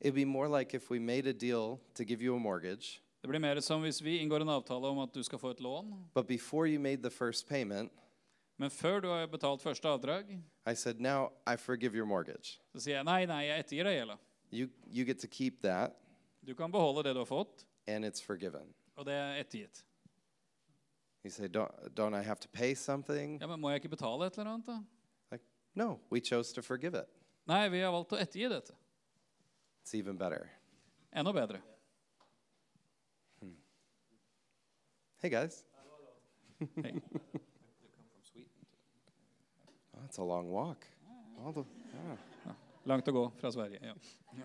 Speaker 1: It'd be more like if we made a deal to give you a mortgage,
Speaker 2: Det blir mer som hvis vi inngår en avtale om at du skal få et lån,
Speaker 1: but before you made the first payment,
Speaker 2: men før du har betalt første avdrag,
Speaker 1: I said, Now I forgive your mortgage.
Speaker 2: så sier jeg nei, nei, jeg ettergir deg gjelda.
Speaker 1: You, you get to keep that,
Speaker 2: Du kan beholde det du har fått,
Speaker 1: and it's forgiven.
Speaker 2: og det er ettergitt.
Speaker 1: You say, Don't, don't I have to pay something?
Speaker 2: Ja, men må jeg ikke betale et eller annet, da?
Speaker 1: Like, no, we chose to forgive it.
Speaker 2: Nei, vi har valgt å ettergi dette.
Speaker 1: It's even better.
Speaker 2: Enda bedre.
Speaker 1: Hey, guys.
Speaker 2: Hey.
Speaker 1: Oh, that's a long walk. All the, yeah.
Speaker 2: Langt å gå fra Sverige. Ja.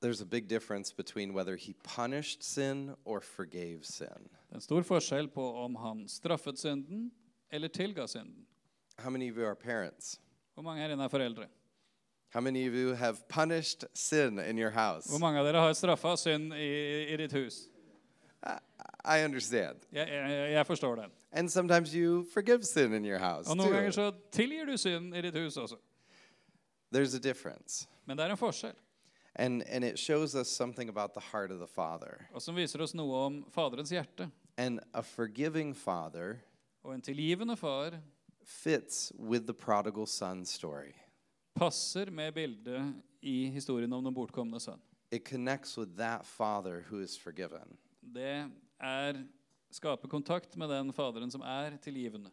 Speaker 1: There's a big difference between whether he punished sin or forgave sin.
Speaker 2: Det er en stor forskjell på om han straffet synden eller tilga synden.
Speaker 1: How many of you are parents?
Speaker 2: Hvor mange her inne er foreldre?
Speaker 1: How many of you have punished sin in your house?
Speaker 2: Hvor mange av dere har straffa synd i, i ditt hus?
Speaker 1: I understand.
Speaker 2: Jeg, jeg, jeg forstår den.
Speaker 1: And sometimes you forgive sin in your house.
Speaker 2: Og noen
Speaker 1: too.
Speaker 2: ganger så tilgir du synd i ditt hus også.
Speaker 1: There's a difference.
Speaker 2: Men det er en forskjell,
Speaker 1: And, and it shows us something about the heart of the Father.
Speaker 2: og som viser oss noe om Faderens hjerte.
Speaker 1: And a forgiving Father
Speaker 2: Og en tilgivende far
Speaker 1: fits with the prodigal son story.
Speaker 2: passer med bildet i historien om den bortkomne sønn.
Speaker 1: It connects with that Father who is forgiven.
Speaker 2: Det er skape kontakt med den Faderen som er tilgivende.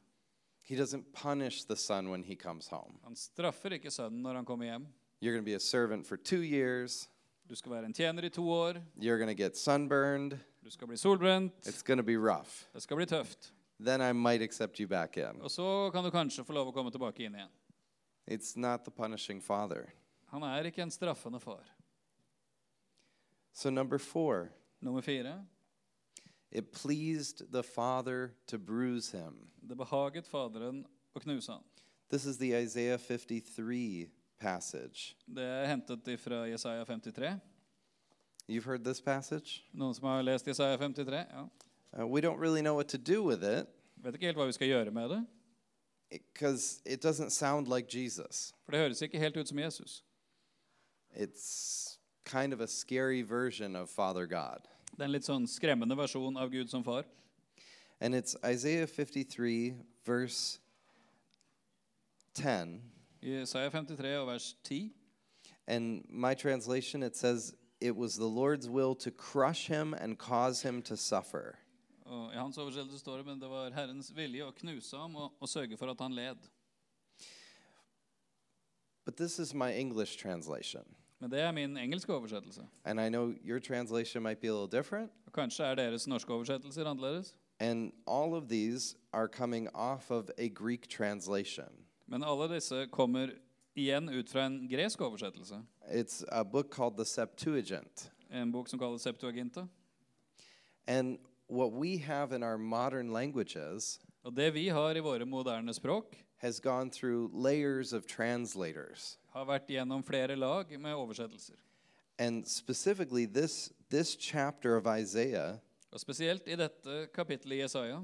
Speaker 1: He doesn't punish the son when he comes home.
Speaker 2: Han straffer ikke sønnen når han kommer hjem.
Speaker 1: You're going to be a servant for two years.
Speaker 2: Du skal være en tjener i to år.
Speaker 1: You're going to get sunburned.
Speaker 2: Du skal bli solbrent.
Speaker 1: It's going to be rough.
Speaker 2: Det skal bli tøft.
Speaker 1: Then I might accept you back in.
Speaker 2: Og så kan du kanskje få lov å komme tilbake inn igjen.
Speaker 1: It's not the punishing Father.
Speaker 2: Han er ikke en straffende far.
Speaker 1: So, number four,
Speaker 2: Nummer fire.
Speaker 1: it pleased the Father to bruise him.
Speaker 2: Det behaget Faderen å knuse han.
Speaker 1: This is the Isaiah 53 passage.
Speaker 2: Det er hentet fra Jesaja 53.
Speaker 1: You've heard this passage?
Speaker 2: Noen som har lest Jesaja 53? Ja.
Speaker 1: Uh, we don't really know what to do with it
Speaker 2: Vet ikke helt hva vi skal gjøre med det,
Speaker 1: because it doesn't sound like Jesus.
Speaker 2: for det høres ikke helt ut som Jesus.
Speaker 1: It's kind of a scary version of Father God.
Speaker 2: Det er en litt sånn skremmende versjon av Gud som far.
Speaker 1: And it's Isaiah 53, verse 10.
Speaker 2: Jesaja 53 og vers 10.
Speaker 1: And my translation, it says, It was the Lord's will to crush him and cause him to suffer.
Speaker 2: Og I hans oversettelse står det, men det var Herrens vilje å knuse ham og, og sørge for at han led.
Speaker 1: But this is my English translation.
Speaker 2: Men det er min engelske oversettelse.
Speaker 1: And I know your translation might be a little different.
Speaker 2: Og kanskje er deres norske oversettelser annerledes.
Speaker 1: And all of these are coming off of a Greek translation.
Speaker 2: Men alle disse kommer igjen ut fra en gresk oversettelse.
Speaker 1: It's a book called the Septuagint.
Speaker 2: En bok som kalles Septuaginta.
Speaker 1: And what we have in our modern languages
Speaker 2: Og det vi har i våre moderne språk,
Speaker 1: has gone through layers of translators.
Speaker 2: har vært gjennom flere lag med oversettelser.
Speaker 1: And specifically, this, this chapter of Isaiah
Speaker 2: Og spesielt i dette kapittelet i Jesaja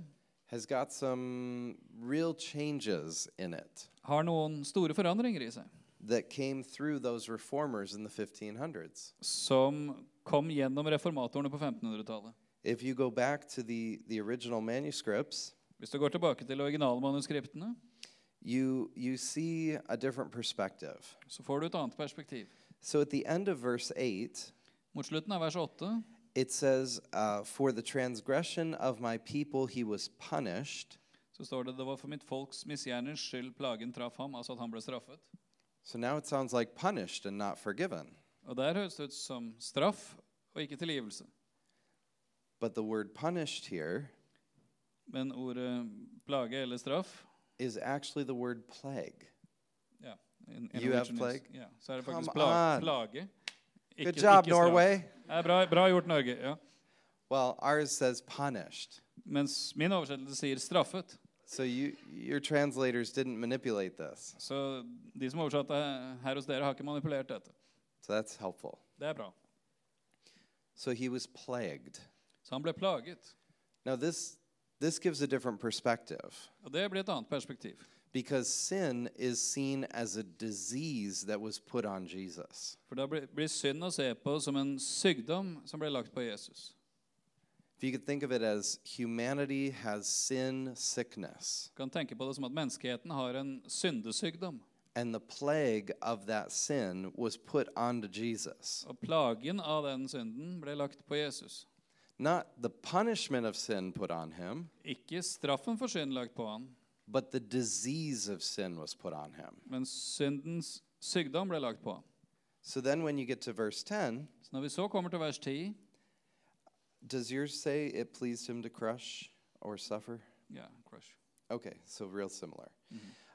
Speaker 1: has got some real changes in it
Speaker 2: har noen store forandringer i seg,
Speaker 1: that came through those reformers in the 1500s.
Speaker 2: som kom gjennom reformatorene på 1500-tallet.
Speaker 1: If you go back to the, the original manuscripts,
Speaker 2: Hvis du går tilbake til originalmanuskriptene,
Speaker 1: you, you see a different perspective.
Speaker 2: så får du et annet perspektiv.
Speaker 1: So at the end of verse 8,
Speaker 2: Mot slutten av vers 8
Speaker 1: it says, uh, For the transgression of my people he was punished.
Speaker 2: så står det det var for mitt folks misgjerners skyld plagen traff ham, altså at han ble straffet.
Speaker 1: So now it sounds like punished and not forgiven.
Speaker 2: Og der høres det ut som straff og ikke tilgivelse.
Speaker 1: But the word punished here
Speaker 2: Men ordet plage eller straff
Speaker 1: is actually the word plague.
Speaker 2: ja, in, in
Speaker 1: You have
Speaker 2: Norwegian is-
Speaker 1: plague?
Speaker 2: Ja, så er det
Speaker 1: Come
Speaker 2: faktisk pla
Speaker 1: on.
Speaker 2: plage. Ikke,
Speaker 1: Good job,
Speaker 2: ikke straff.
Speaker 1: Norway.
Speaker 2: Det er bra, bra gjort, Norge. ja.
Speaker 1: Well, ours says punished.
Speaker 2: Mens min oversettelse sier straffet.
Speaker 1: So you, your translators didn't manipulate this.
Speaker 2: Så de som oversatte her hos dere, har ikke manipulert dette.
Speaker 1: So that's helpful.
Speaker 2: Det er bra.
Speaker 1: So he was plagued.
Speaker 2: Så han ble plaget.
Speaker 1: Now this this gives a different perspective
Speaker 2: Og det blir et annet perspektiv.
Speaker 1: because sin is seen as a disease that was put on Jesus.
Speaker 2: For da blir blir synd å se på som en sykdom som ble lagt på Jesus.
Speaker 1: If you could think of it as humanity has sin sickness,
Speaker 2: Du kan tenke på det som at menneskeheten har en syndesykdom.
Speaker 1: and the plague of that sin was put onto Jesus.
Speaker 2: Og plagen av den synden ble lagt på Jesus.
Speaker 1: Not the punishment of sin put on him,
Speaker 2: Ikke straffen for synd lagt på han,
Speaker 1: but the disease of sin was put on him.
Speaker 2: men syndens sykdom ble lagt på han.
Speaker 1: So then when you get to verse 10,
Speaker 2: Så når vi så kommer til vers 10
Speaker 1: does yours say it pleased him to crush or suffer?
Speaker 2: ja, crush.
Speaker 1: Okay, so real similar.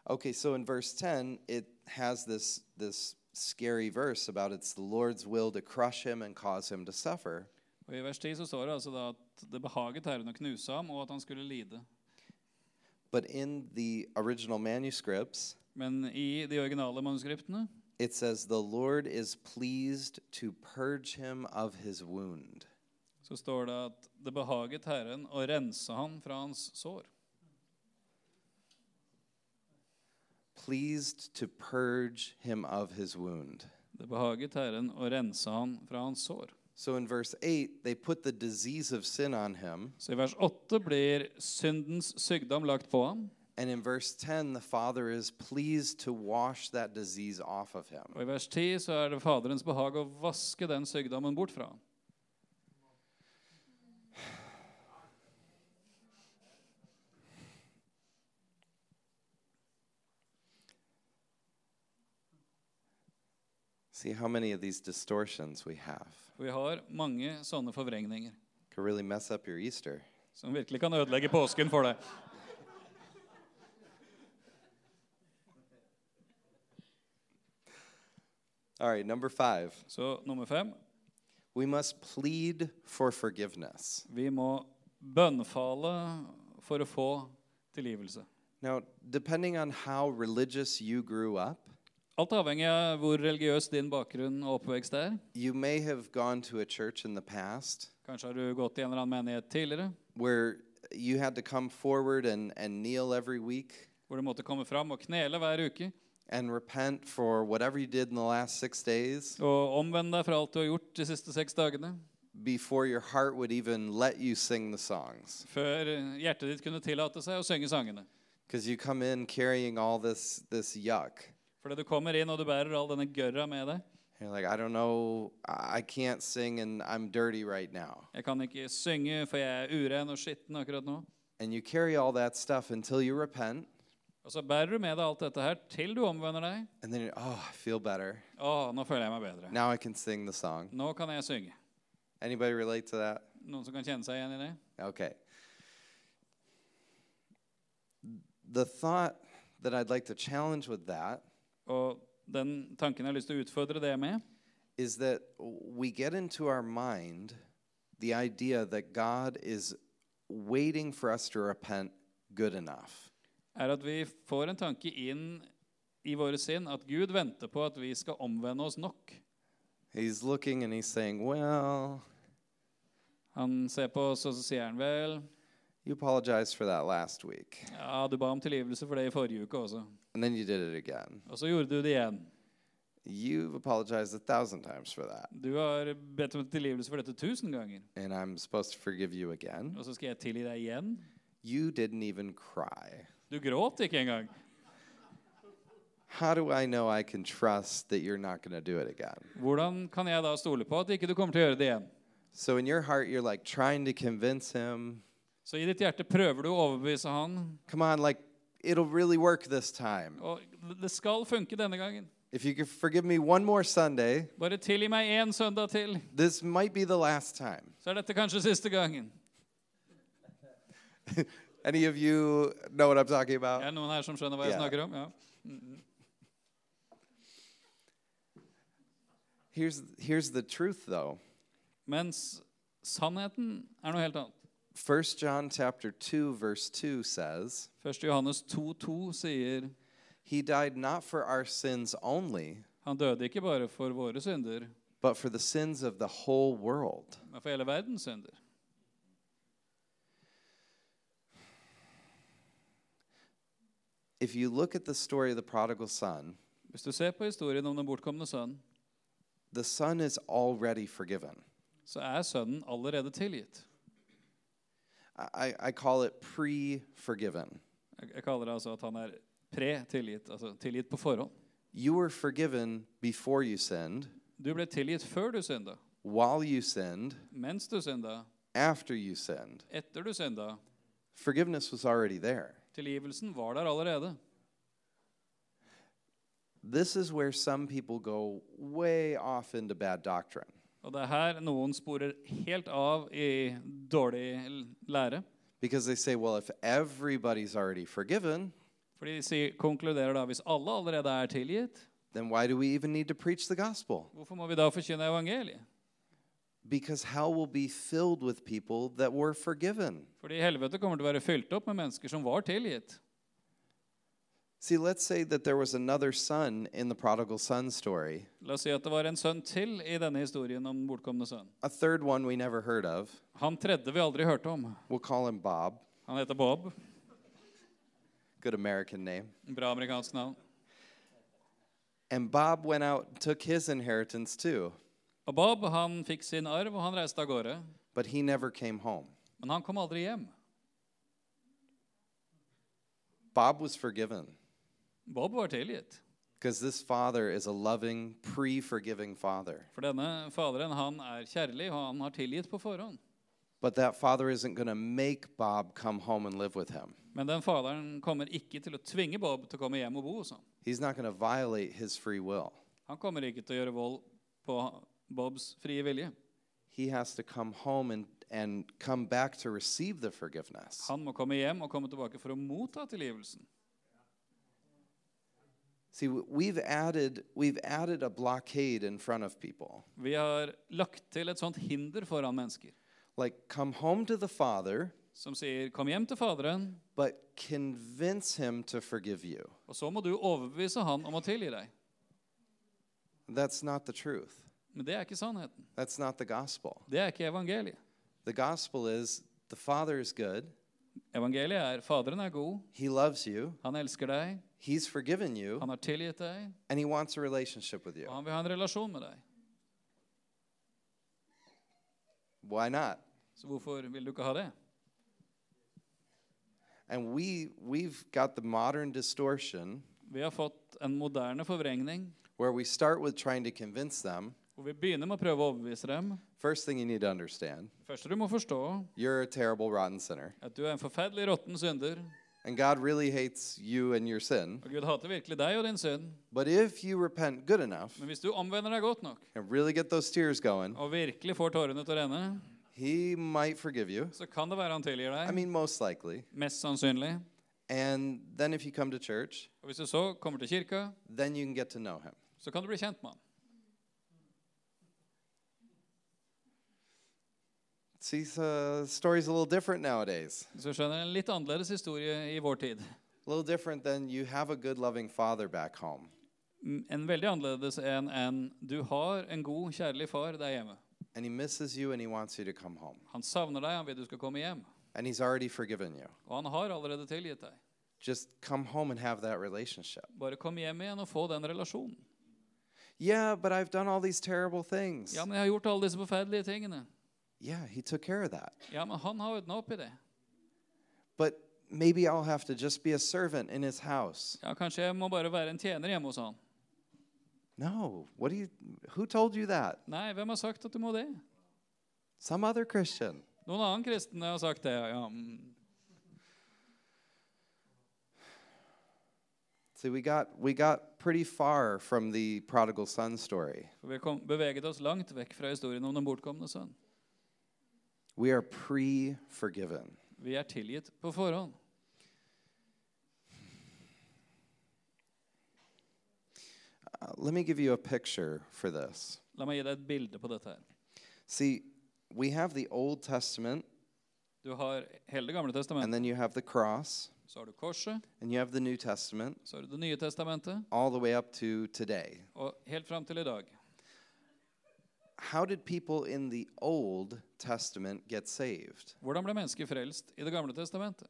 Speaker 1: Okay, so in verse 10, it has this this scary verse about it's the Lord's will to crush him and cause him to suffer.
Speaker 2: Og I vers 10 så står det altså da at det behaget Herren å knuse ham, og at han skulle lide.
Speaker 1: But in the original manuscripts,
Speaker 2: Men i de originale manuskriptene
Speaker 1: it says the Lord is pleased to purge him of his wound.
Speaker 2: så står det at det behaget Herren å rense ham fra hans sår.
Speaker 1: Pleased to purge him of his wound.
Speaker 2: Det behaget Herren å rense ham fra hans sår.
Speaker 1: So in verse 8, they put the disease of sin on him.
Speaker 2: Så i vers 8 blir syndens sykdom lagt på ham.
Speaker 1: And in verse 10, the Father is pleased to wash that disease off of him.
Speaker 2: Og i vers 10 så er det Faderens behag å vaske den sykdommen bort fra ham.
Speaker 1: See how many of these distortions we have.
Speaker 2: For vi har mange sånne forvrengninger
Speaker 1: Could really mess up your Easter.
Speaker 2: som virkelig kan ødelegge påsken for deg.
Speaker 1: All right, number five.
Speaker 2: Så nummer fem
Speaker 1: We must plead for forgiveness.
Speaker 2: Vi må bønnfale for å få tilgivelse.
Speaker 1: Now, depending on how religious you grew up,
Speaker 2: Alt avhengig av hvor religiøs din bakgrunn og oppvekst er.
Speaker 1: you may have gone to a church in the past
Speaker 2: Kanskje har du gått i en eller annen menighet tidligere
Speaker 1: where you had to come forward and, and kneel every week
Speaker 2: hvor du måtte komme fram og knele hver uke
Speaker 1: and repent for whatever you did in the last six days
Speaker 2: og omvende deg fra alt du har gjort de siste seks dagene,
Speaker 1: before your heart would even let you sing the songs.
Speaker 2: før hjertet ditt kunne tillate seg å synge sangene.
Speaker 1: Because you come in carrying all this, this yuck.
Speaker 2: Fordi du kommer inn og du bærer all denne gørra med deg.
Speaker 1: You're like, I don't know, I I can't sing and I'm dirty right now.
Speaker 2: Jeg kan ikke synge, for jeg er uren og skitten akkurat nå.
Speaker 1: And you carry all that stuff until you repent,
Speaker 2: Og så bærer du med deg alt dette her til du omvender deg.
Speaker 1: and then you're, oh, I feel better.
Speaker 2: Å, nå føler jeg meg bedre.
Speaker 1: Now I can sing the song.
Speaker 2: Nå kan jeg synge.
Speaker 1: Anybody relate to that?
Speaker 2: Noen som kan kjenne seg igjen i det?
Speaker 1: Okay. The thought that I'd like to challenge with that
Speaker 2: Og den tanken jeg har lyst til å utfordre det med,
Speaker 1: is that we get into our mind the idea that God is waiting for us to repent good enough.
Speaker 2: er at vi får en tanke inn i våre sinn at Gud venter på at vi skal omvende oss nok.
Speaker 1: He's looking and he's saying, Well,
Speaker 2: Han ser på oss, og så sier han vel
Speaker 1: you apologized for that last week.
Speaker 2: Ja, du ba om tilgivelse for det i forrige uke også.
Speaker 1: And then you did it again.
Speaker 2: Og så gjorde du det igjen.
Speaker 1: You've apologized a thousand times for that.
Speaker 2: Du har bedt om tilgivelse for dette tusen ganger.
Speaker 1: And I'm supposed to forgive you again.
Speaker 2: Og så skal jeg tilgi deg igjen?
Speaker 1: You didn't even cry.
Speaker 2: Du gråt ikke engang.
Speaker 1: How do I know I can trust that you're not going to do it again?
Speaker 2: Hvordan kan jeg da stole på at ikke du kommer til å gjøre det igjen?
Speaker 1: So in your heart, you're like trying to convince him,
Speaker 2: Så i ditt hjerte prøver du å overbevise han.
Speaker 1: come on, like it'll really work this time.
Speaker 2: Og det skal funke denne gangen.
Speaker 1: If you could forgive me one more Sunday,
Speaker 2: Bare tilgi meg én søndag til,
Speaker 1: this might be the last time.
Speaker 2: så er dette kanskje siste gangen.
Speaker 1: Any of you know what I'm talking about?
Speaker 2: Er det noen her som skjønner hva jeg
Speaker 1: Ja.
Speaker 2: snakker om? Ja.
Speaker 1: Here's, here's the truth, though.
Speaker 2: Mens sannheten er noe helt annet.
Speaker 1: 1 John chapter 2 verse 2 says,
Speaker 2: 1. Johannes 2,2 sier
Speaker 1: "He died not for our sins only,
Speaker 2: han døde ikke bare for våre synder,
Speaker 1: but for the sins of the whole world."
Speaker 2: men for hele verdens synder.
Speaker 1: If you look at the story of the prodigal son,
Speaker 2: Hvis du ser på historien om den bortkomne sønnen,
Speaker 1: the son is already forgiven.
Speaker 2: så er sønnen allerede tilgitt.
Speaker 1: I- I, I call it pre-forgiven.
Speaker 2: Jeg jeg kaller det altså at han er pre-tilgitt, altså tilgitt på forhånd.
Speaker 1: You were forgiven before you sinned,
Speaker 2: Du ble tilgitt før du synda,
Speaker 1: while you sinned,
Speaker 2: mens du synda,
Speaker 1: after you sinned.
Speaker 2: etter du synda.
Speaker 1: Forgiveness was already there.
Speaker 2: Tilgivelsen var der allerede.
Speaker 1: This is where some people go way off into bad doctrine
Speaker 2: Og det er her noen sporer helt av i dårlig l- lære.
Speaker 1: because they say, well, if everybody's already forgiven,
Speaker 2: For de sier, konkluderer da hvis alle allerede er tilgitt,
Speaker 1: then why do we even need to preach the gospel?
Speaker 2: hvorfor må vi da forkynne evangeliet?
Speaker 1: Because hell will be filled with people that were forgiven.
Speaker 2: Fordi helvete kommer til å være fylt opp med mennesker som var tilgitt.
Speaker 1: See, let's say that there was another son in the prodigal son story,
Speaker 2: La oss si at det var en sønn til i denne historien om den bortkomne sønnen.
Speaker 1: a third one we never heard of.
Speaker 2: Han tredje vi aldri hørte om.
Speaker 1: We'll call him Bob,
Speaker 2: Han heter Bob.
Speaker 1: good American name.
Speaker 2: Bra amerikansk navn.
Speaker 1: And Bob went out and took his inheritance too,
Speaker 2: Og Bob han fikk sin arv, og han reiste av gårde.
Speaker 1: but he never came home.
Speaker 2: Men han kom aldri hjem.
Speaker 1: Bob was forgiven
Speaker 2: Bob var tilgitt.
Speaker 1: because this father is a loving, pre forgiving father.
Speaker 2: For denne faderen han er kjærlig, og han har tilgitt på forhånd.
Speaker 1: But that father isn't going to make Bob come home and live with him.
Speaker 2: Men den faderen kommer ikke til å tvinge Bob til å komme hjem og bo hos ham.
Speaker 1: He's not going to violate his free will.
Speaker 2: Han kommer ikke til å gjøre vold på Bobs frie vilje.
Speaker 1: He has to come home and, and come back to receive the forgiveness.
Speaker 2: Han må komme hjem og komme tilbake for å motta tilgivelsen.
Speaker 1: See, w- we've added, we've added a blockade in front of people.
Speaker 2: Vi har lagt til et sånt hinder foran mennesker
Speaker 1: Like, come home to the father,
Speaker 2: som sier 'kom hjem til faderen',
Speaker 1: but convince him to forgive you.
Speaker 2: og så må du overbevise han om å tilgi deg.
Speaker 1: That's not the truth.
Speaker 2: Men det er ikke sannheten.
Speaker 1: That's not the gospel.
Speaker 2: Det er ikke evangeliet.
Speaker 1: The gospel is the Father is good.
Speaker 2: Evangeliet er Faderen er god,
Speaker 1: He loves you.
Speaker 2: han elsker deg,
Speaker 1: He's forgiven you.
Speaker 2: han har tilgitt deg,
Speaker 1: And He wants a relationship with you.
Speaker 2: og han vil ha en relasjon med deg.
Speaker 1: Why not?
Speaker 2: Så hvorfor vil du ikke ha det?
Speaker 1: And we, we've got the modern distortion
Speaker 2: Vi har fått en moderne forvrengning,
Speaker 1: where we start with trying to convince them.
Speaker 2: hvor vi begynner med å prøve å overbevise dem.
Speaker 1: First thing you need to understand
Speaker 2: Det første du må forstå,
Speaker 1: you're a terrible, rotten sinner.
Speaker 2: er at du er en forferdelig råtten synder,
Speaker 1: And God really hates you and your sin.
Speaker 2: og Gud hater virkelig deg og din synd.
Speaker 1: But if you repent good enough
Speaker 2: Men hvis du omvender deg godt nok,
Speaker 1: and really get those tears going,
Speaker 2: og virkelig får tårene til å renne,
Speaker 1: He might forgive you.
Speaker 2: så kan det være han tilgir
Speaker 1: I
Speaker 2: deg.
Speaker 1: mean, most likely.
Speaker 2: Mest sannsynlig.
Speaker 1: And then if you come to church,
Speaker 2: Og hvis du så kommer til kirka,
Speaker 1: then you can get to know Him.
Speaker 2: så kan du bli kjent med han.
Speaker 1: See, the story's a little different nowadays.
Speaker 2: Så skjønner jeg en litt annerledes historie i vår tid.
Speaker 1: A little different than you have a good, loving father back home,
Speaker 2: Mm, En veldig annerledes enn en du har en god, kjærlig far der hjemme.
Speaker 1: and he misses you and he wants you to come home,
Speaker 2: Han savner deg, han vil du skal komme hjem.
Speaker 1: and he's already forgiven you.
Speaker 2: Og han har allerede tilgitt deg.
Speaker 1: Just come home and have that relationship.
Speaker 2: Bare kom hjem igjen og få den relasjonen.
Speaker 1: Yeah, but I've done all these terrible things.
Speaker 2: Ja, men jeg har gjort alle disse forferdelige tingene.
Speaker 1: Yeah, he took care of that.
Speaker 2: Ja, men han har ordna opp i det.
Speaker 1: But maybe I'll have to just be a servant in his house.
Speaker 2: Ja, kanskje jeg må bare være en tjener hjemme hos han.
Speaker 1: No, what do you who told you that?
Speaker 2: Nei, hvem har sagt at du må det?
Speaker 1: Some other Christian.
Speaker 2: Noen annen kristne har sagt det. Ja, mm.
Speaker 1: See, we got we got pretty far from the prodigal son story.
Speaker 2: For vi kom, beveget oss langt vekk fra historien om den bortkomne sønn.
Speaker 1: We are pre-forgiven.
Speaker 2: Vi er tilgitt på forhånd.
Speaker 1: Uh, let me give you a picture for this.
Speaker 2: La meg gi deg et bilde på dette her.
Speaker 1: See, we have the Old Testament
Speaker 2: Du har hele Det gamle
Speaker 1: and
Speaker 2: testamentet.
Speaker 1: then you have the cross,
Speaker 2: Så har du korset.
Speaker 1: and you have the New Testament,
Speaker 2: Så har du Det nye testamentet.
Speaker 1: all the way up to today.
Speaker 2: Og helt fram til i dag.
Speaker 1: How did people in the Old Testament get saved?
Speaker 2: Hvordan ble mennesket frelst i Det gamle testamentet?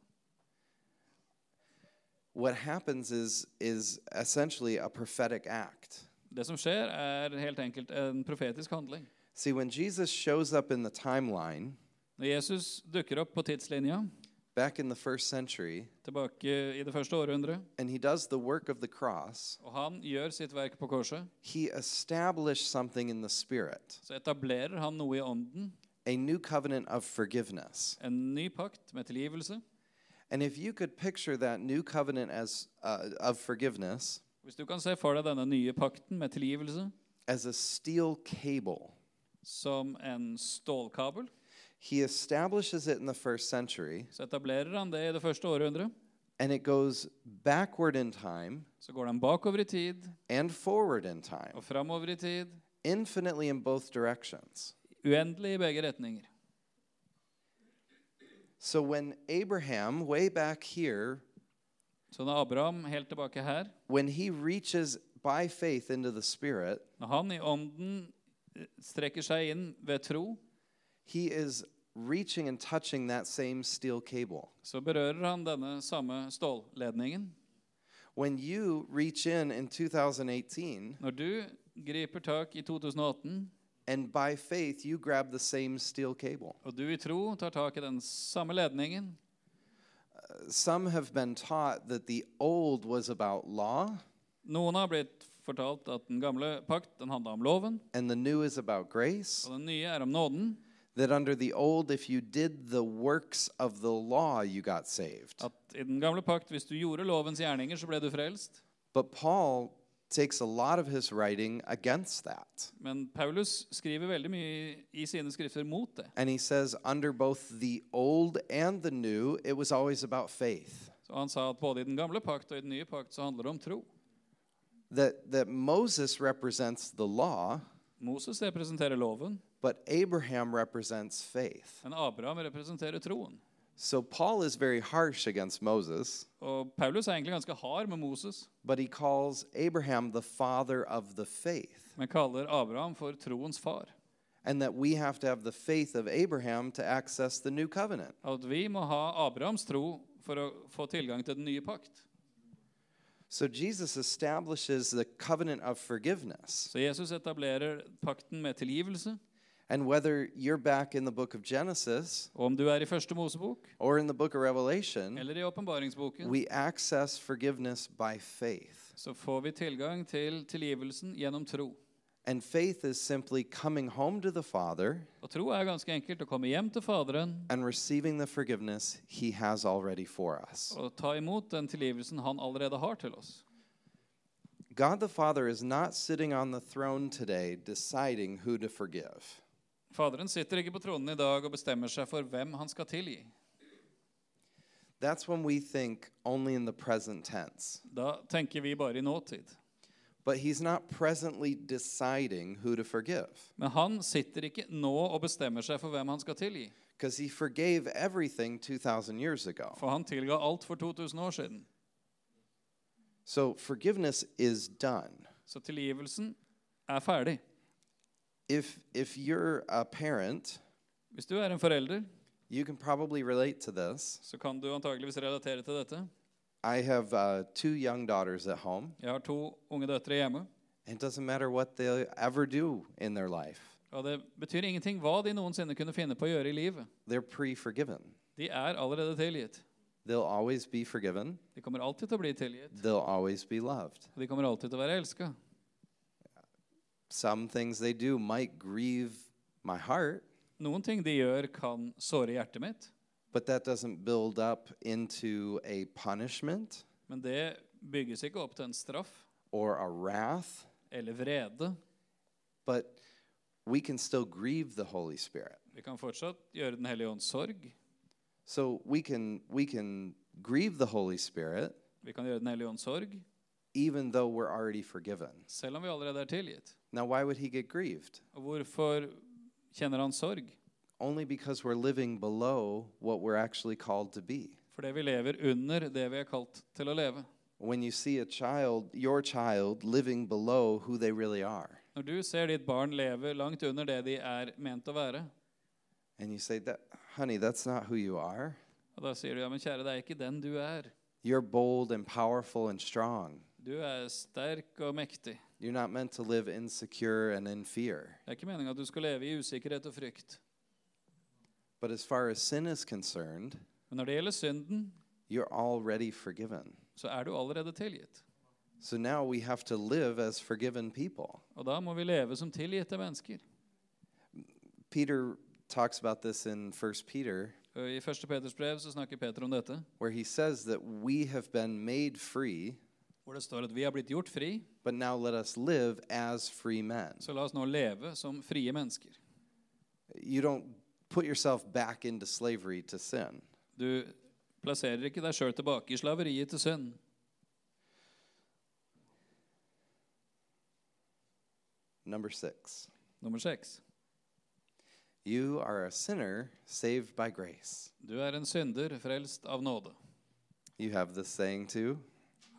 Speaker 1: What happens is is essentially a prophetic act.
Speaker 2: Det som skjer, er helt enkelt en profetisk handling.
Speaker 1: See, when Jesus shows up in the timeline
Speaker 2: Når Jesus dukker opp på tidslinja
Speaker 1: back in the first century,
Speaker 2: tilbake i det første århundret,
Speaker 1: and he does the work of the cross,
Speaker 2: og han gjør sitt verk på korset,
Speaker 1: he established something in the spirit,
Speaker 2: så etablerer han noe i ånden,
Speaker 1: a new covenant of forgiveness.
Speaker 2: en ny pakt med tilgivelse.
Speaker 1: And if you could picture that new covenant as uh, of forgiveness
Speaker 2: Hvis du kan se for deg denne nye pakten med tilgivelse
Speaker 1: as a steel cable,
Speaker 2: som en stålkabel,
Speaker 1: he establishes it in the first century,
Speaker 2: så etablerer han det i det første århundret.
Speaker 1: and it goes backward in time
Speaker 2: Så går den bakover i tid
Speaker 1: and forward in time,
Speaker 2: og framover i tid,
Speaker 1: infinitely in both directions.
Speaker 2: uendelig i begge retninger.
Speaker 1: So when Abraham, way back here,
Speaker 2: Så når Abraham helt tilbake her,
Speaker 1: when he reaches by faith into the Spirit,
Speaker 2: når han i ånden eh, strekker seg inn ved tro,
Speaker 1: he is reaching and touching that same steel cable.
Speaker 2: så berører han denne samme stålledningen.
Speaker 1: When you reach in in 2018
Speaker 2: Når du griper tak i 2018,
Speaker 1: and by faith you grab the same steel cable,
Speaker 2: og du i tro tar tak i den samme ledningen
Speaker 1: some have been taught that the old was about law
Speaker 2: Noen har blitt fortalt at den gamle pakt den handla om loven,
Speaker 1: and the new is about grace,
Speaker 2: og den nye er om nåden.
Speaker 1: that under the old, if you did the works of the law, you got saved.
Speaker 2: At i den gamle pakt, hvis du gjorde lovens gjerninger, så ble du frelst.
Speaker 1: But Paul takes a lot of his writing against that.
Speaker 2: Men Paulus skriver veldig mye i sine skrifter mot det.
Speaker 1: And he says, under both the old and the new, it was always about faith.
Speaker 2: Så Han sa at både i den gamle pakt og i den nye pakt så handler det om tro.
Speaker 1: That, that Moses represents the law,
Speaker 2: Moses representerer loven,
Speaker 1: but Abraham represents faith.
Speaker 2: men Abraham representerer troen.
Speaker 1: So Paul is very harsh against Moses,
Speaker 2: Og Paulus er egentlig ganske hard med Moses,
Speaker 1: but he calls Abraham the father of the faith.
Speaker 2: men kaller Abraham for troens far.
Speaker 1: And that we have to have the faith of Abraham to access the new covenant.
Speaker 2: At vi må ha Abrahams tro for å få tilgang til den nye pakt.
Speaker 1: So Jesus establishes the covenant of forgiveness.
Speaker 2: Så Jesus etablerer pakten med tilgivelse.
Speaker 1: And whether you're back in the book of Genesis
Speaker 2: Og om du er i første Mosebok
Speaker 1: or in the book of Revelation,
Speaker 2: eller i åpenbaringsboken,
Speaker 1: We access forgiveness by faith.
Speaker 2: så får vi tilgang til tilgivelsen gjennom tro.
Speaker 1: And faith is simply coming home to the Father
Speaker 2: Og tro er ganske enkelt å komme hjem til Faderen
Speaker 1: and receiving the forgiveness He has already for us.
Speaker 2: og ta imot den tilgivelsen han allerede har til oss.
Speaker 1: God the Father is not sitting on the throne today deciding who to forgive.
Speaker 2: Faderen sitter ikke på tronen i dag og bestemmer seg for hvem han skal tilgi.
Speaker 1: That's when we think only in the present tense.
Speaker 2: Da tenker vi bare i nåtid.
Speaker 1: But He's not presently deciding who to forgive
Speaker 2: Men han sitter ikke nå og bestemmer seg for hvem han skal tilgi.
Speaker 1: because He forgave everything 2,000 years ago.
Speaker 2: For han tilga alt for 2000 år siden.
Speaker 1: So forgiveness is done.
Speaker 2: Så tilgivelsen er ferdig.
Speaker 1: If, if you're a parent,
Speaker 2: Hvis du er en forelder,
Speaker 1: You can probably relate to this.
Speaker 2: så kan du antakeligvis relatere til dette.
Speaker 1: I have uh, two young daughters at home.
Speaker 2: Jeg har to unge døtre hjemme,
Speaker 1: It doesn't matter what they ever do in their life,
Speaker 2: og det betyr ingenting hva de noensinne kunne finne på å gjøre i livet.
Speaker 1: they're pre forgiven.
Speaker 2: De er allerede tilgitt.
Speaker 1: They'll always be forgiven,
Speaker 2: De kommer alltid til å bli tilgitt,
Speaker 1: they'll always be loved.
Speaker 2: og de kommer alltid til å være elska.
Speaker 1: Some things they do might grieve my heart,
Speaker 2: Noen ting de gjør, kan såre hjertet mitt,
Speaker 1: but that doesn't build up into a punishment
Speaker 2: men det bygges ikke opp til en straff
Speaker 1: or a wrath,
Speaker 2: eller vrede.
Speaker 1: but we can still grieve the Holy Spirit.
Speaker 2: Vi kan fortsatt gjøre Den hellige ånds sorg.
Speaker 1: So we can, we can grieve the Holy Spirit
Speaker 2: Vi kan gjøre Den hellige ånds sorg
Speaker 1: even though we're already forgiven.
Speaker 2: selv om vi allerede er tilgitt.
Speaker 1: Now, why would he get grieved?
Speaker 2: Og hvorfor kjenner han sorg?
Speaker 1: only because we're living below what we're actually called to be.
Speaker 2: Fordi vi lever under det vi er kalt til å leve.
Speaker 1: When you see a child, your child, living below who they really are,
Speaker 2: Når du ser ditt barn leve langt under det de er ment å være,
Speaker 1: and you say, that, honey, that's not who you are.
Speaker 2: og da sier du ja, men kjære, det er ikke den du er.
Speaker 1: You're bold and powerful and strong.
Speaker 2: Du er sterk og mektig.
Speaker 1: You're not meant to live insecure and in fear.
Speaker 2: Det er ikke meninga at du skal leve i usikkerhet og frykt.
Speaker 1: But as far as sin is concerned,
Speaker 2: Men når det gjelder synden,
Speaker 1: you're already forgiven.
Speaker 2: så er du allerede tilgitt.
Speaker 1: So now we have to live as forgiven people.
Speaker 2: Og da må vi leve som tilgitte mennesker.
Speaker 1: Peter talks about this in 1 Peter,
Speaker 2: Og I 1. Peters brev så snakker Peter om dette,
Speaker 1: where he says that we have been made free,
Speaker 2: hvor det står at vi har blitt gjort fri,
Speaker 1: but now let us live as free men.
Speaker 2: så la oss nå leve som frie mennesker.
Speaker 1: You don't put yourself back into slavery to sin.
Speaker 2: Du plasserer ikke deg sjøl tilbake i slaveriet til synd.
Speaker 1: Number six,
Speaker 2: Nummer seks.
Speaker 1: you are a sinner saved by grace.
Speaker 2: Du er en synder frelst av nåde.
Speaker 1: You have this saying too.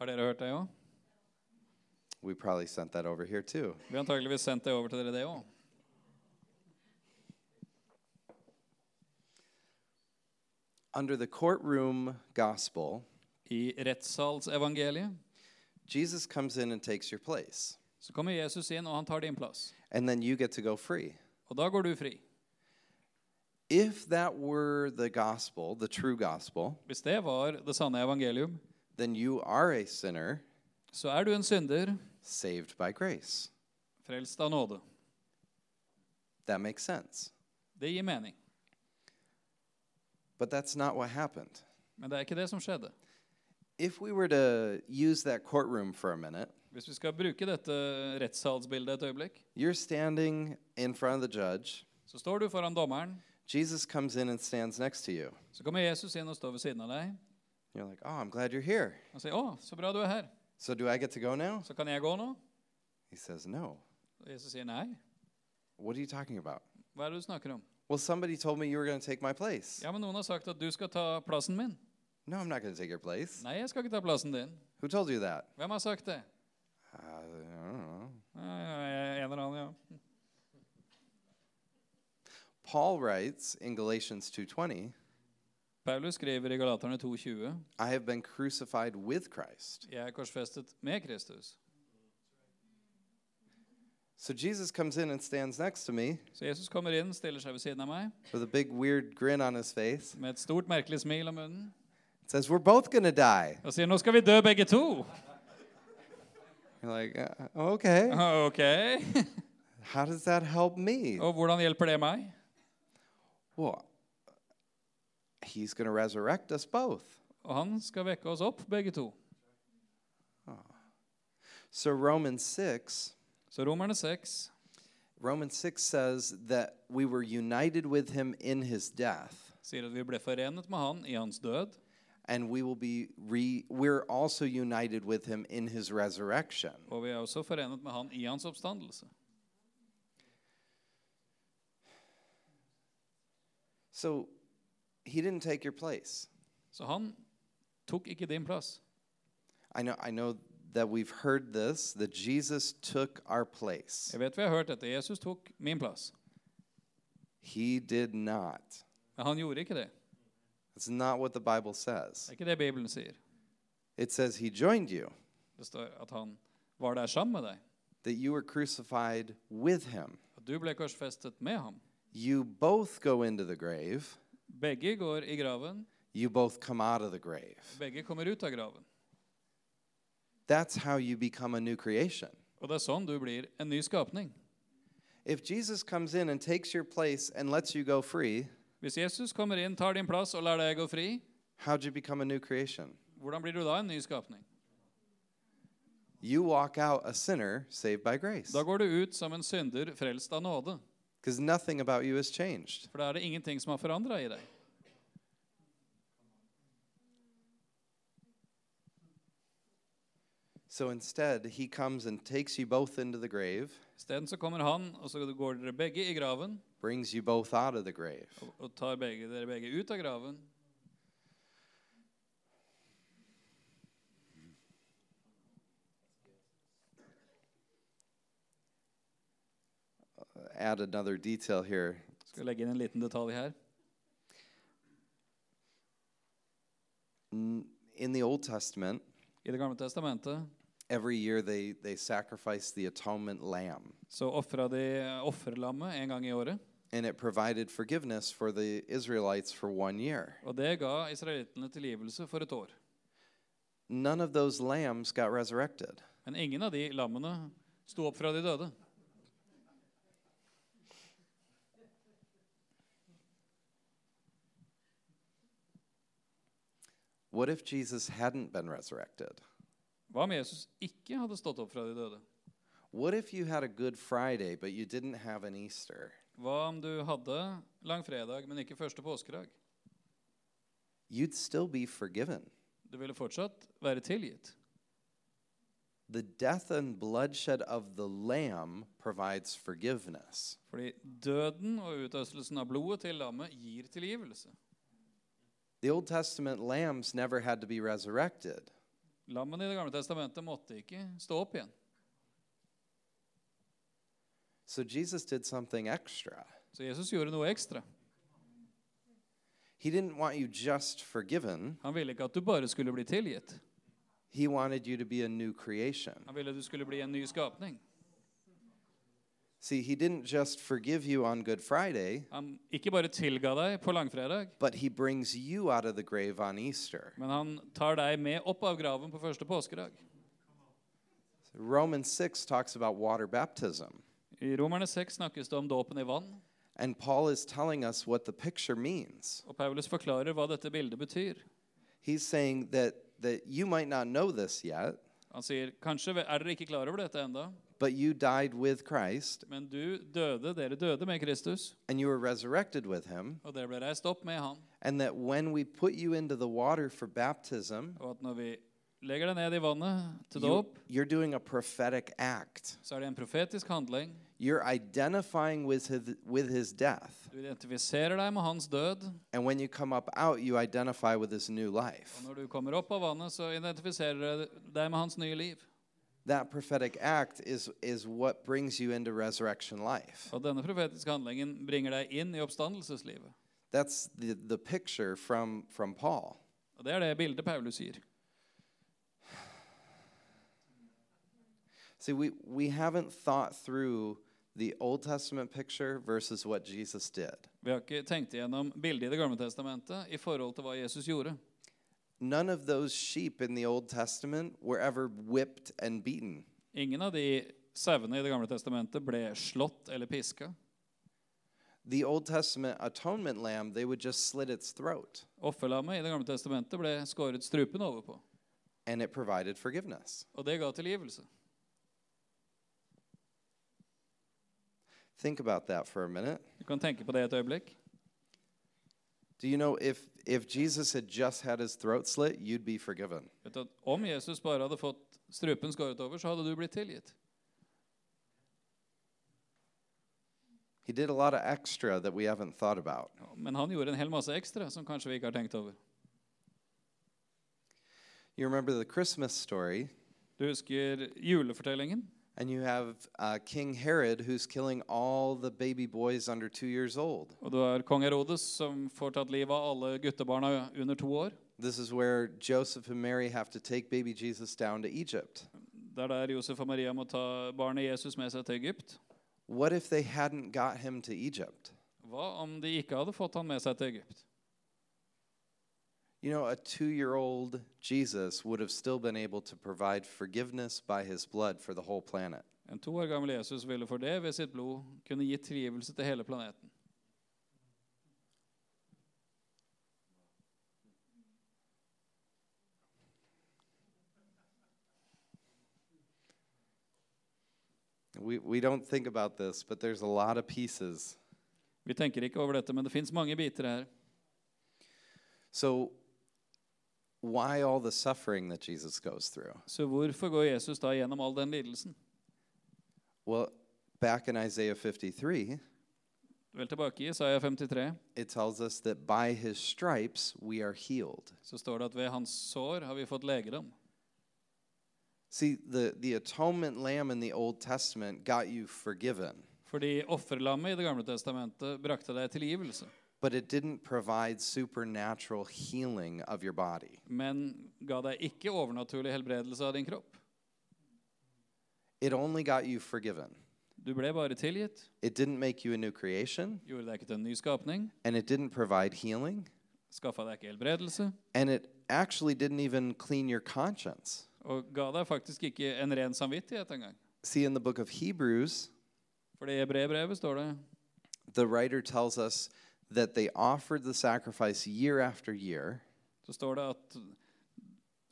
Speaker 2: Har dere hørt det òg?
Speaker 1: We probably sent that over here too.
Speaker 2: Vi har antakeligvis sendt det over til dere, det òg.
Speaker 1: Under the courtroom gospel,
Speaker 2: I rettssalsevangeliet
Speaker 1: Jesus comes in and takes your place,
Speaker 2: så kommer Jesus inn, og han tar din plass.
Speaker 1: and then you get to go free.
Speaker 2: Og da går du fri.
Speaker 1: If that were the gospel, the true gospel,
Speaker 2: Hvis det var det sanne evangelium,
Speaker 1: then you are a sinner
Speaker 2: så er du en synder
Speaker 1: saved by grace.
Speaker 2: frelst av nåde.
Speaker 1: That makes sense.
Speaker 2: Det gir mening.
Speaker 1: But that's not what happened.
Speaker 2: Men det er ikke det som skjedde.
Speaker 1: If we were to use that courtroom for a minute,
Speaker 2: Hvis vi skal bruke dette rettssalsbildet et øyeblikk,
Speaker 1: you're standing in front of the judge.
Speaker 2: så står du foran dommeren,
Speaker 1: Jesus comes in and stands next to you.
Speaker 2: så kommer Jesus inn og står ved siden av deg
Speaker 1: You're like, oh, I'm glad you're here.
Speaker 2: og sier 'Å, så bra du er her.
Speaker 1: So do I get to go now?
Speaker 2: Så kan jeg gå nå?'
Speaker 1: He says, no.
Speaker 2: Og Jesus sier 'Nei,
Speaker 1: What are you talking about?
Speaker 2: hva er det du snakker om?'
Speaker 1: Well, somebody told me you were going to take my place.
Speaker 2: 'Ja, men noen har sagt at du skal ta plassen min.'
Speaker 1: No, I'm not going to take your place.
Speaker 2: 'Nei, jeg skal ikke ta plassen din.'
Speaker 1: Who told you that?
Speaker 2: Hvem har sagt det?
Speaker 1: Uh, I don't know.
Speaker 2: «Nei, En eller annen, ja.
Speaker 1: Paul writes in Galatians 2:20,
Speaker 2: Paulus skriver i Galaterne 2,20
Speaker 1: I have been crucified with Christ.
Speaker 2: 'Jeg er korsfestet med Kristus'.
Speaker 1: So Jesus comes in and stands next to me
Speaker 2: Så Jesus kommer inn, stiller seg ved siden av meg
Speaker 1: with a big weird grin on his face.
Speaker 2: med et stort, merkelig smil om munnen
Speaker 1: Says, "We're both going to die."
Speaker 2: og sier 'Nå skal vi dø, begge to'.
Speaker 1: You're like, uh, "Okay.
Speaker 2: Ok.
Speaker 1: How does that help me?"
Speaker 2: Og hvordan hjelper det meg?
Speaker 1: Well, he's going to resurrect us both.
Speaker 2: Og han skal vekke oss opp, begge to.
Speaker 1: So Romans 6
Speaker 2: Så Romerne 6
Speaker 1: Romans 6 says that we were united with him in his death,
Speaker 2: sier at vi ble forenet med han i hans død,
Speaker 1: and we will be re- we're also united with him in his resurrection.
Speaker 2: og vi er også forenet med han i hans oppstandelse.
Speaker 1: So he didn't take your place.
Speaker 2: Så han tok ikke din plass.
Speaker 1: I know I know that we've heard this that Jesus took our place.
Speaker 2: Jeg vet vi har hørt dette. Jesus tok min plass.
Speaker 1: He did not.
Speaker 2: Men han gjorde ikke det.
Speaker 1: That's not what the Bible
Speaker 2: Det
Speaker 1: says.
Speaker 2: er ikke det Bibelen sier.
Speaker 1: It says he joined you,
Speaker 2: Det står at han var der sammen med deg.
Speaker 1: that you were crucified with him.
Speaker 2: At du ble korsfestet med ham.
Speaker 1: You both go into the grave,
Speaker 2: Begge går i graven.
Speaker 1: you both come out of the grave.
Speaker 2: Begge kommer ut av graven.
Speaker 1: That's how you become a new creation.
Speaker 2: Og det er sånn du blir en ny skapning.
Speaker 1: If Jesus comes in and takes your place and lets you go free,
Speaker 2: Hvis Jesus kommer inn, tar din plass og lar deg gå fri,
Speaker 1: how'd you become a new creation?
Speaker 2: hvordan blir du da en ny skapning?
Speaker 1: You walk out a sinner saved by grace
Speaker 2: Da går du ut som en synder frelst av nåde.
Speaker 1: because nothing about you has changed.
Speaker 2: For da er det ingenting som har forandra i deg.
Speaker 1: So instead, he comes and takes you both into the grave,
Speaker 2: Isteden så kommer han, og så går dere begge i graven
Speaker 1: brings you both out of the grave.
Speaker 2: og, og tar begge, dere begge ut av graven.
Speaker 1: Add another detail here.
Speaker 2: Skal legge inn en liten detalj her.
Speaker 1: N- In the Old Testament,
Speaker 2: I Det gamle testamentet
Speaker 1: every year they, they sacrificed the atonement lamb,
Speaker 2: så ofra de offerlammet en gang i året.
Speaker 1: and it provided forgiveness for the Israelites for one year.
Speaker 2: Og det ga israelittene tilgivelse for et år.
Speaker 1: None of those lambs got resurrected.
Speaker 2: Men ingen av de lammene sto opp fra de døde.
Speaker 1: What if Jesus hadn't been resurrected?
Speaker 2: Hva om Jesus ikke hadde stått opp fra de døde?
Speaker 1: What if you had a Good Friday, but you didn't have an Easter?
Speaker 2: Hva om du hadde langfredag, men ikke første påskedag?
Speaker 1: You'd still be forgiven.
Speaker 2: Du ville fortsatt være tilgitt.
Speaker 1: The death and bloodshed of the Lamb provides forgiveness.
Speaker 2: Fordi døden og utøstelsen av blodet til lammet gir tilgivelse.
Speaker 1: The Old Testament lambs never had to be resurrected.
Speaker 2: Lammene i Det gamle testamentet måtte ikke stå opp igjen.
Speaker 1: So Jesus did something extra.
Speaker 2: Så Jesus gjorde noe ekstra.
Speaker 1: He didn't want you just forgiven,
Speaker 2: Han ville ikke at du bare skulle bli tilgitt.
Speaker 1: He wanted you to be a new creation.
Speaker 2: Han ville at du skulle bli en ny skapning.
Speaker 1: See, He didn't just forgive you on Good Friday,
Speaker 2: Han ikke bare tilga deg på langfredag,
Speaker 1: but He brings you out of the grave on Easter.
Speaker 2: men han tar deg med opp av graven på første påskedag.
Speaker 1: Romans 6 talks about water baptism.
Speaker 2: I Romerne 6 snakkes det om dåpen i vann,
Speaker 1: And Paul is telling us what the picture means.
Speaker 2: og Paulus forklarer hva dette bildet betyr.
Speaker 1: He's saying that, that you might not know this yet,
Speaker 2: Han sier, kanskje er dere ikke klar over dette enda,
Speaker 1: but you died with Christ
Speaker 2: men du døde, dere døde med Kristus,
Speaker 1: and you were resurrected with him,
Speaker 2: og dere ble reist opp med han.
Speaker 1: and that when we put you into the water for baptism,
Speaker 2: Og at når vi legger deg ned i vannet til
Speaker 1: you,
Speaker 2: dåp,
Speaker 1: you're doing a prophetic act.
Speaker 2: så er det en profetisk handling.
Speaker 1: You're identifying with his, with his death.
Speaker 2: Du identifiserer deg med hans død,
Speaker 1: And when you come up out, you identify with his new life.
Speaker 2: og når du kommer opp av vannet, så identifiserer du deg med hans nye liv.
Speaker 1: That prophetic act is, is what brings you into resurrection life.
Speaker 2: Og denne profetiske handlingen bringer deg inn i oppstandelseslivet.
Speaker 1: That's the, the picture from, from Paul.
Speaker 2: Og det er det bildet Paulus gir.
Speaker 1: See, we, we haven't thought through the Old Testament picture versus what Jesus did.
Speaker 2: Vi har ikke tenkt igjennom bildet i Det gamle testamentet i forhold til hva Jesus gjorde.
Speaker 1: None of those sheep in the Old Testament were ever whipped and beaten.
Speaker 2: Ingen av de sauene i Det gamle testamentet ble slått eller piska.
Speaker 1: The Old Testament atonement lamb, they would just slit its throat,
Speaker 2: Offerlammet i Det gamle testamentet ble skåret strupen over på.
Speaker 1: and it provided forgiveness.
Speaker 2: Og det ga tilgivelse.
Speaker 1: Think about that for a minute.
Speaker 2: Du kan tenke på det et øyeblikk.
Speaker 1: Do you know if, if Jesus had just had his throat slit, you'd be forgiven?
Speaker 2: Vet du at Om Jesus bare hadde fått strupen skåret over, så hadde du blitt tilgitt.
Speaker 1: He did a lot of extra that we haven't thought about.
Speaker 2: Men han gjorde en hel masse ekstra som kanskje vi ikke har tenkt over.
Speaker 1: You remember the Christmas story
Speaker 2: Du husker julefortellingen?
Speaker 1: And you have uh, King Herod who's killing all the baby boys under two years old.
Speaker 2: Og du har kong Herodes som får tatt livet av alle guttebarna under to år.
Speaker 1: This is where Joseph and Mary have to take baby Jesus down to Egypt.
Speaker 2: Det er der Josef og Maria må ta barnet Jesus med seg til Egypt.
Speaker 1: What if they hadn't got him to Egypt?
Speaker 2: Hva om de ikke hadde fått han med seg til Egypt?
Speaker 1: You know, a two year old Jesus would have still been able to provide forgiveness by his blood for the whole planet.
Speaker 2: En to år gammel Jesus ville for det ved sitt blod kunne gi tilgivelse til hele planeten.
Speaker 1: We, we don't think about this, but there's a lot of pieces.
Speaker 2: Vi tenker ikke over dette, men det fins mange biter her.
Speaker 1: So, why all the suffering that Jesus goes through?
Speaker 2: Så hvorfor går Jesus da gjennom all den lidelsen?
Speaker 1: Well, back in Isaiah 53,
Speaker 2: Vel tilbake i Isaiah 53
Speaker 1: it tells us that by his stripes we are healed.
Speaker 2: så står det at ved hans sår har vi fått legedom.
Speaker 1: See, the, the atonement lamb in the Old Testament got you forgiven,
Speaker 2: Fordi offerlammet i Det gamle testamentet brakte deg tilgivelse.
Speaker 1: but it didn't provide supernatural healing of your body.
Speaker 2: men ga deg ikke overnaturlig helbredelse av din kropp.
Speaker 1: It only got you forgiven.
Speaker 2: Du ble bare tilgitt,
Speaker 1: It didn't make you a new creation,
Speaker 2: gjorde deg ikke til en ny skapning,
Speaker 1: and it didn't provide healing,
Speaker 2: skaffa deg ikke helbredelse,
Speaker 1: and it actually didn't even clean your conscience.
Speaker 2: og ga deg faktisk ikke en ren samvittighet engang.
Speaker 1: See, in the book of Hebrews,
Speaker 2: For i Hebreerbrevet står det
Speaker 1: the writer tells us that they offered the sacrifice year after year,
Speaker 2: så står det at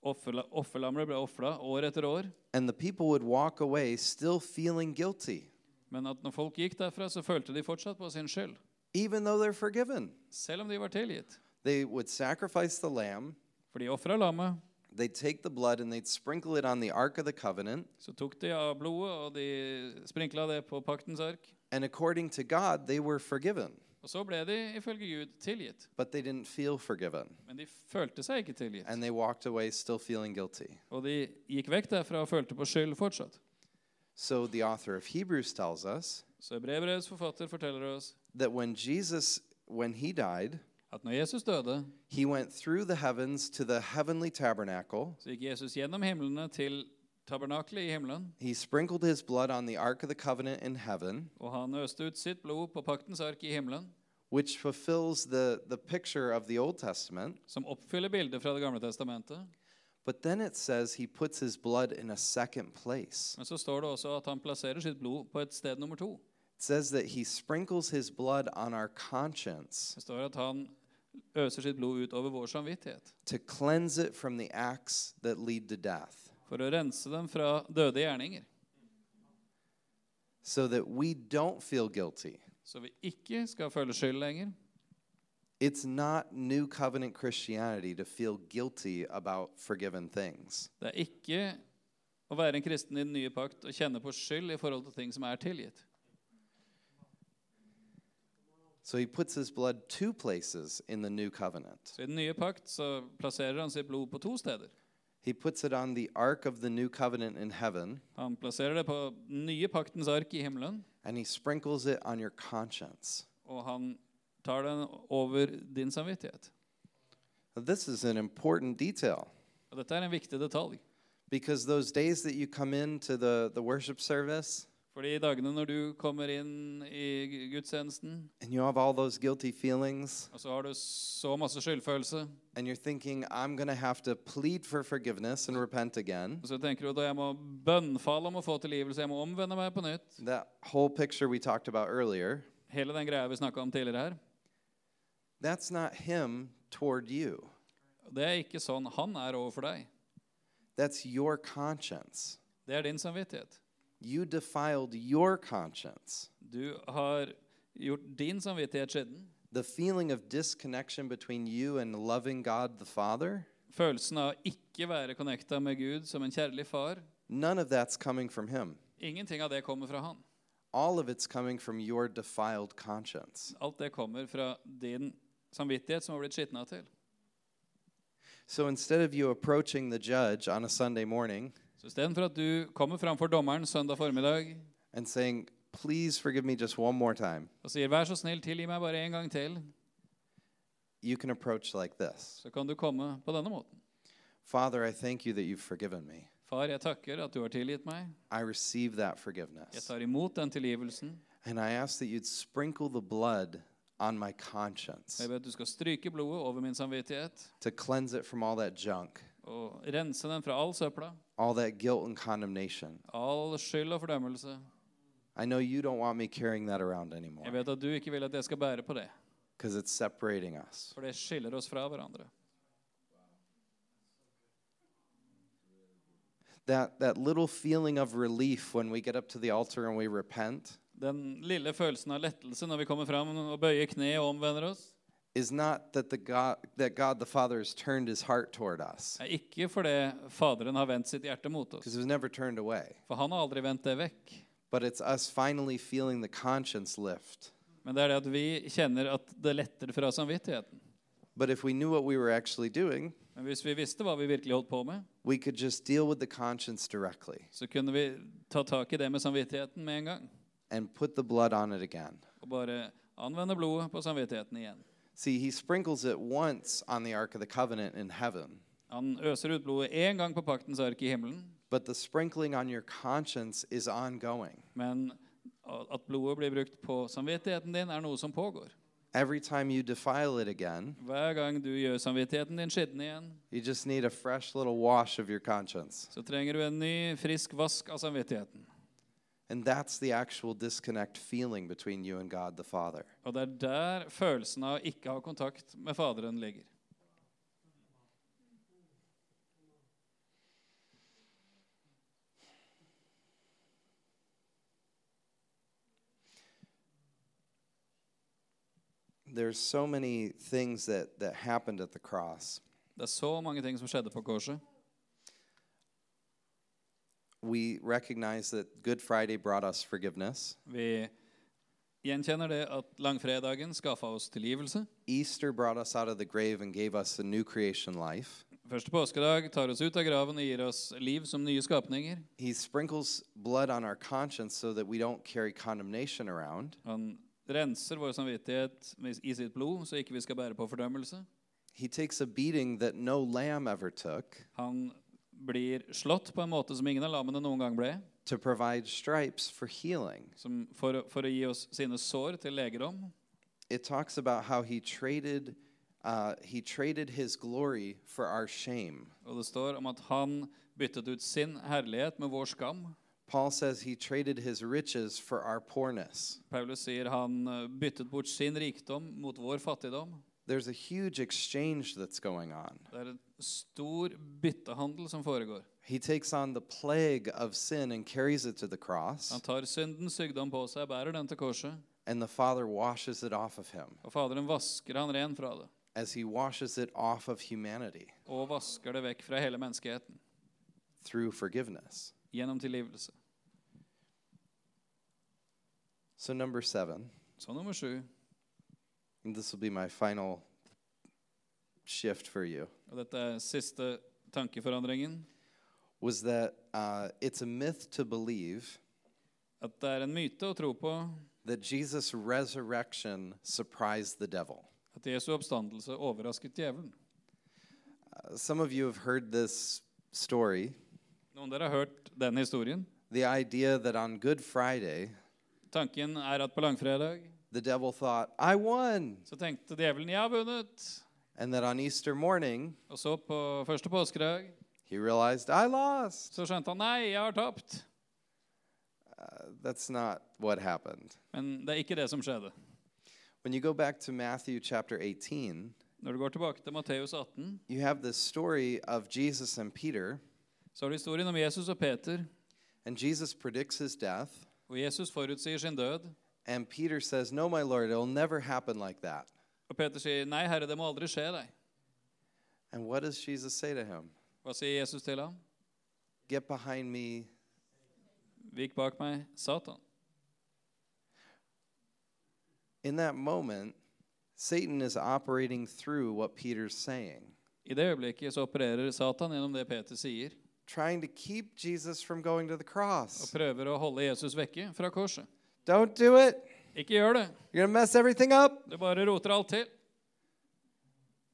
Speaker 2: offerla- offerlammer ble ofra år etter år,
Speaker 1: and the people would walk away still feeling guilty,
Speaker 2: men at når folk gikk derfra, så følte de fortsatt på sin skyld,
Speaker 1: even though they're forgiven.
Speaker 2: selv om de var tilgitt.
Speaker 1: They would sacrifice the lamb,
Speaker 2: For de ofra lammet,
Speaker 1: they'd take the blood and they'd sprinkle it on the Ark of the Covenant,
Speaker 2: så tok de av blodet, og de sprinkla det på paktens ark.
Speaker 1: and according to God, they were forgiven,
Speaker 2: Og så ble de ifølge Gud tilgitt,
Speaker 1: but they didn't feel forgiven,
Speaker 2: men de følte seg ikke tilgitt.
Speaker 1: and they walked away still feeling guilty.
Speaker 2: Og de gikk vekk derfra og følte på skyld fortsatt.
Speaker 1: So the author of Hebrews tells us
Speaker 2: Så brevbrevets forfatter forteller oss
Speaker 1: that when Jesus, when he died,
Speaker 2: at når Jesus døde,
Speaker 1: He went through the heavens to the heavenly tabernacle.
Speaker 2: så gikk Jesus gjennom himlene til tabernakelet i himmelen,
Speaker 1: He sprinkled his blood on the Ark of the Covenant in heaven,
Speaker 2: og han øste ut sitt blod på paktens ark i himmelen,
Speaker 1: which fulfills the, the picture of the Old Testament.
Speaker 2: som oppfyller bildet fra Det gamle testamentet.
Speaker 1: But then it says he puts his blood in a second place.
Speaker 2: Men så står det også at han plasserer sitt blod på et sted nummer to.
Speaker 1: It says that he sprinkles his blood on our conscience
Speaker 2: Det står at han øser sitt blod ut over vår samvittighet
Speaker 1: to cleanse it from the acts that lead to death,
Speaker 2: for å rense dem fra døde gjerninger,
Speaker 1: so that we don't feel guilty.
Speaker 2: så vi ikke skal føle skyld lenger.
Speaker 1: It's not new covenant Christianity to feel guilty about forgiven things.
Speaker 2: Det er ikke å være en kristen i den nye pakt og kjenne på skyld i forhold til ting som er tilgitt.
Speaker 1: So he puts his blood two places in the new covenant.
Speaker 2: Så I den nye pakt så plasserer han sitt blod på to steder.
Speaker 1: He puts it on the ark of the new covenant in heaven,
Speaker 2: Han plasserer det på den nye paktens ark i himmelen,
Speaker 1: and he sprinkles it on your conscience.
Speaker 2: og han tar den over din samvittighet.
Speaker 1: Now, This is an important detail
Speaker 2: Og Dette er en viktig detalj.
Speaker 1: because those days that you come into the, the worship service
Speaker 2: Fordi i dagene når du kommer inn i gudstjenesten,
Speaker 1: and you have all those guilty feelings,
Speaker 2: og så har du så masse skyldfølelse,
Speaker 1: and you're thinking, I'm going to have to plead for forgiveness and repent again,
Speaker 2: og så tenker du at jeg må bønnfalle om å få tilgivelse, jeg må omvende meg på nytt.
Speaker 1: that whole picture we talked about earlier,
Speaker 2: Hele den greia vi snakka om tidligere her.
Speaker 1: that's not him toward you.
Speaker 2: Det er ikke sånn han er overfor deg.
Speaker 1: That's your conscience.
Speaker 2: Det er din samvittighet.
Speaker 1: You defiled your conscience.
Speaker 2: Du har gjort din samvittighet skitten.
Speaker 1: The feeling of disconnection between you and loving God the Father,
Speaker 2: Følelsen av å ikke være connecta med Gud som en kjærlig far.
Speaker 1: none of that's coming from Him.
Speaker 2: Ingenting av det kommer fra han.
Speaker 1: All of it's coming from your defiled conscience.
Speaker 2: Alt det kommer fra din samvittighet som har blitt skitna til.
Speaker 1: So instead of you approaching the judge on a Sunday morning
Speaker 2: Så istedenfor at du kommer framfor dommeren søndag formiddag
Speaker 1: and saying, Please forgive me just one more time,
Speaker 2: og sier 'vær så snill, tilgi meg bare en gang til',
Speaker 1: you can approach like this
Speaker 2: så kan du komme på denne måten.
Speaker 1: Father, I thank you that you've forgiven me.
Speaker 2: Far, jeg takker at du har tilgitt meg.
Speaker 1: I receive that
Speaker 2: Jeg
Speaker 1: forgiveness.
Speaker 2: tar imot den tilgivelsen.
Speaker 1: And I ask that you'd sprinkle the blood on my
Speaker 2: Og jeg
Speaker 1: conscience
Speaker 2: ber at du skal stryke blodet over min samvittighet
Speaker 1: to cleanse it from all that junk,
Speaker 2: og rense den fra all søpla,
Speaker 1: all that guilt and condemnation.
Speaker 2: all skyld og fordømmelse.
Speaker 1: I know you don't want me carrying that around anymore
Speaker 2: Jeg vet at du ikke vil at jeg skal bære på det,
Speaker 1: because it's separating us.
Speaker 2: for det skiller oss fra hverandre.
Speaker 1: That, that little feeling of relief when we get up to the altar and we repent,
Speaker 2: Den lille følelsen av lettelse når vi kommer fram og bøyer kne og omvender oss,
Speaker 1: is not that the God that God the Father has turned his heart toward us
Speaker 2: er ikke fordi Faderen har vendt sitt hjerte mot oss,
Speaker 1: because it was never turned away,
Speaker 2: for han har aldri vendt det vekk.
Speaker 1: but it's us finally feeling the conscience lift.
Speaker 2: Men det er det at vi kjenner at det letter fra samvittigheten.
Speaker 1: But if we knew what we were actually doing,
Speaker 2: Men hvis vi visste hva vi virkelig holdt på med,
Speaker 1: we could just deal with the conscience directly
Speaker 2: så kunne vi ta tak i det med samvittigheten med en gang.
Speaker 1: and put the blood on it again.
Speaker 2: Og bare anvende blodet på samvittigheten igjen.
Speaker 1: See, he sprinkles it once on the Ark of the Covenant in heaven,
Speaker 2: Han øser ut blodet én gang på paktens ark i himmelen,
Speaker 1: but the sprinkling on your conscience is ongoing.
Speaker 2: men at blodet blir brukt på samvittigheten din, er noe som pågår.
Speaker 1: Every time you defile it again,
Speaker 2: Hver gang du gjør samvittigheten din skitten igjen,
Speaker 1: you just need a fresh little wash of your conscience.
Speaker 2: så trenger du en ny, frisk vask av samvittigheten.
Speaker 1: And that's the actual disconnect feeling between you and God the Father.
Speaker 2: Og det er der følelsen av å ikke ha kontakt med Faderen ligger.
Speaker 1: There's so many things that, that happened at the cross.
Speaker 2: Det er så mange ting som skjedde på korset.
Speaker 1: We recognize that Good Friday brought us forgiveness.
Speaker 2: Vi gjenkjenner det at langfredagen skaffa oss tilgivelse.
Speaker 1: Easter brought us out of the grave and gave us a new creation life.
Speaker 2: Første påskedag tar oss ut av graven og gir oss liv som nye skapninger.
Speaker 1: He sprinkles blood on our conscience so that we don't carry condemnation around.
Speaker 2: Han renser vår samvittighet med- i sitt blod, så ikke vi skal bære på fordømmelse.
Speaker 1: He takes a beating that no lamb ever took
Speaker 2: Han blir slått på en måte som ingen av lammene noen gang ble,
Speaker 1: to provide stripes for healing.
Speaker 2: som for, å- for å gi oss sine sår til legedom.
Speaker 1: It talks about how he traded, uh, he traded his glory for our shame.
Speaker 2: Og det står om at han byttet ut sin herlighet med vår skam.
Speaker 1: Paul says he traded his riches for our poorness.
Speaker 2: Paulus sier han eh, byttet bort sin rikdom mot vår fattigdom.
Speaker 1: There's a huge exchange that's going on.
Speaker 2: Det er en stor byttehandel som foregår.
Speaker 1: He takes on the plague of sin and carries it to the cross,
Speaker 2: Han tar syndens sykdom på seg, bærer den til korset,
Speaker 1: and the Father washes it off of him
Speaker 2: og Faderen vasker han ren fra det.
Speaker 1: as he washes it off of humanity
Speaker 2: Og vasker det vekk fra hele menneskeheten
Speaker 1: through forgiveness.
Speaker 2: gjennom tilgivelse.
Speaker 1: So, number seven,
Speaker 2: Så nummer sju,
Speaker 1: and this will be my final shift for you,
Speaker 2: og dette er siste tankeforandringen,
Speaker 1: was that uh, it's a myth to believe
Speaker 2: at det er en myte å tro på
Speaker 1: that Jesus' resurrection surprised the devil.
Speaker 2: at Jesu oppstandelse overrasket djevelen.
Speaker 1: Uh, some of you have heard this story
Speaker 2: Noen av dere har hørt den historien.
Speaker 1: the idea that on Good Friday,
Speaker 2: Tanken er at på langfredag
Speaker 1: the devil thought, I won.
Speaker 2: så tenkte djevelen 'jeg har vunnet',
Speaker 1: And that on Easter morning,
Speaker 2: og så på første påskedag
Speaker 1: he realized, I lost.
Speaker 2: så skjønte han 'nei, jeg har tapt'.
Speaker 1: Uh, that's not what happened.
Speaker 2: Men det er ikke det som skjedde.
Speaker 1: When you go back to Matthew chapter 18,
Speaker 2: Når du går tilbake til Matteus 18,
Speaker 1: you have this story of Jesus and Peter,
Speaker 2: så har du historien om Jesus og Peter.
Speaker 1: and Jesus predicts his death,
Speaker 2: Og Jesus forutsier sin død.
Speaker 1: and Peter says, No, my Lord, it'll never happen like that.
Speaker 2: Og Peter sier, 'Nei, herre, det må aldri skje deg'.
Speaker 1: And what does Jesus say to him?
Speaker 2: Hva sier Jesus til ham?
Speaker 1: Get behind me.
Speaker 2: Vik bak meg, Satan.
Speaker 1: In that moment, Satan is operating through what Peter's saying,
Speaker 2: I det øyeblikket så opererer Satan gjennom det Peter sier,
Speaker 1: trying to keep Jesus from going to the
Speaker 2: og
Speaker 1: cross.
Speaker 2: prøver å holde Jesus vekke fra korset.
Speaker 1: Don't do it.
Speaker 2: Ikke gjør det.
Speaker 1: You're going to mess everything up.
Speaker 2: Du bare roter alt til.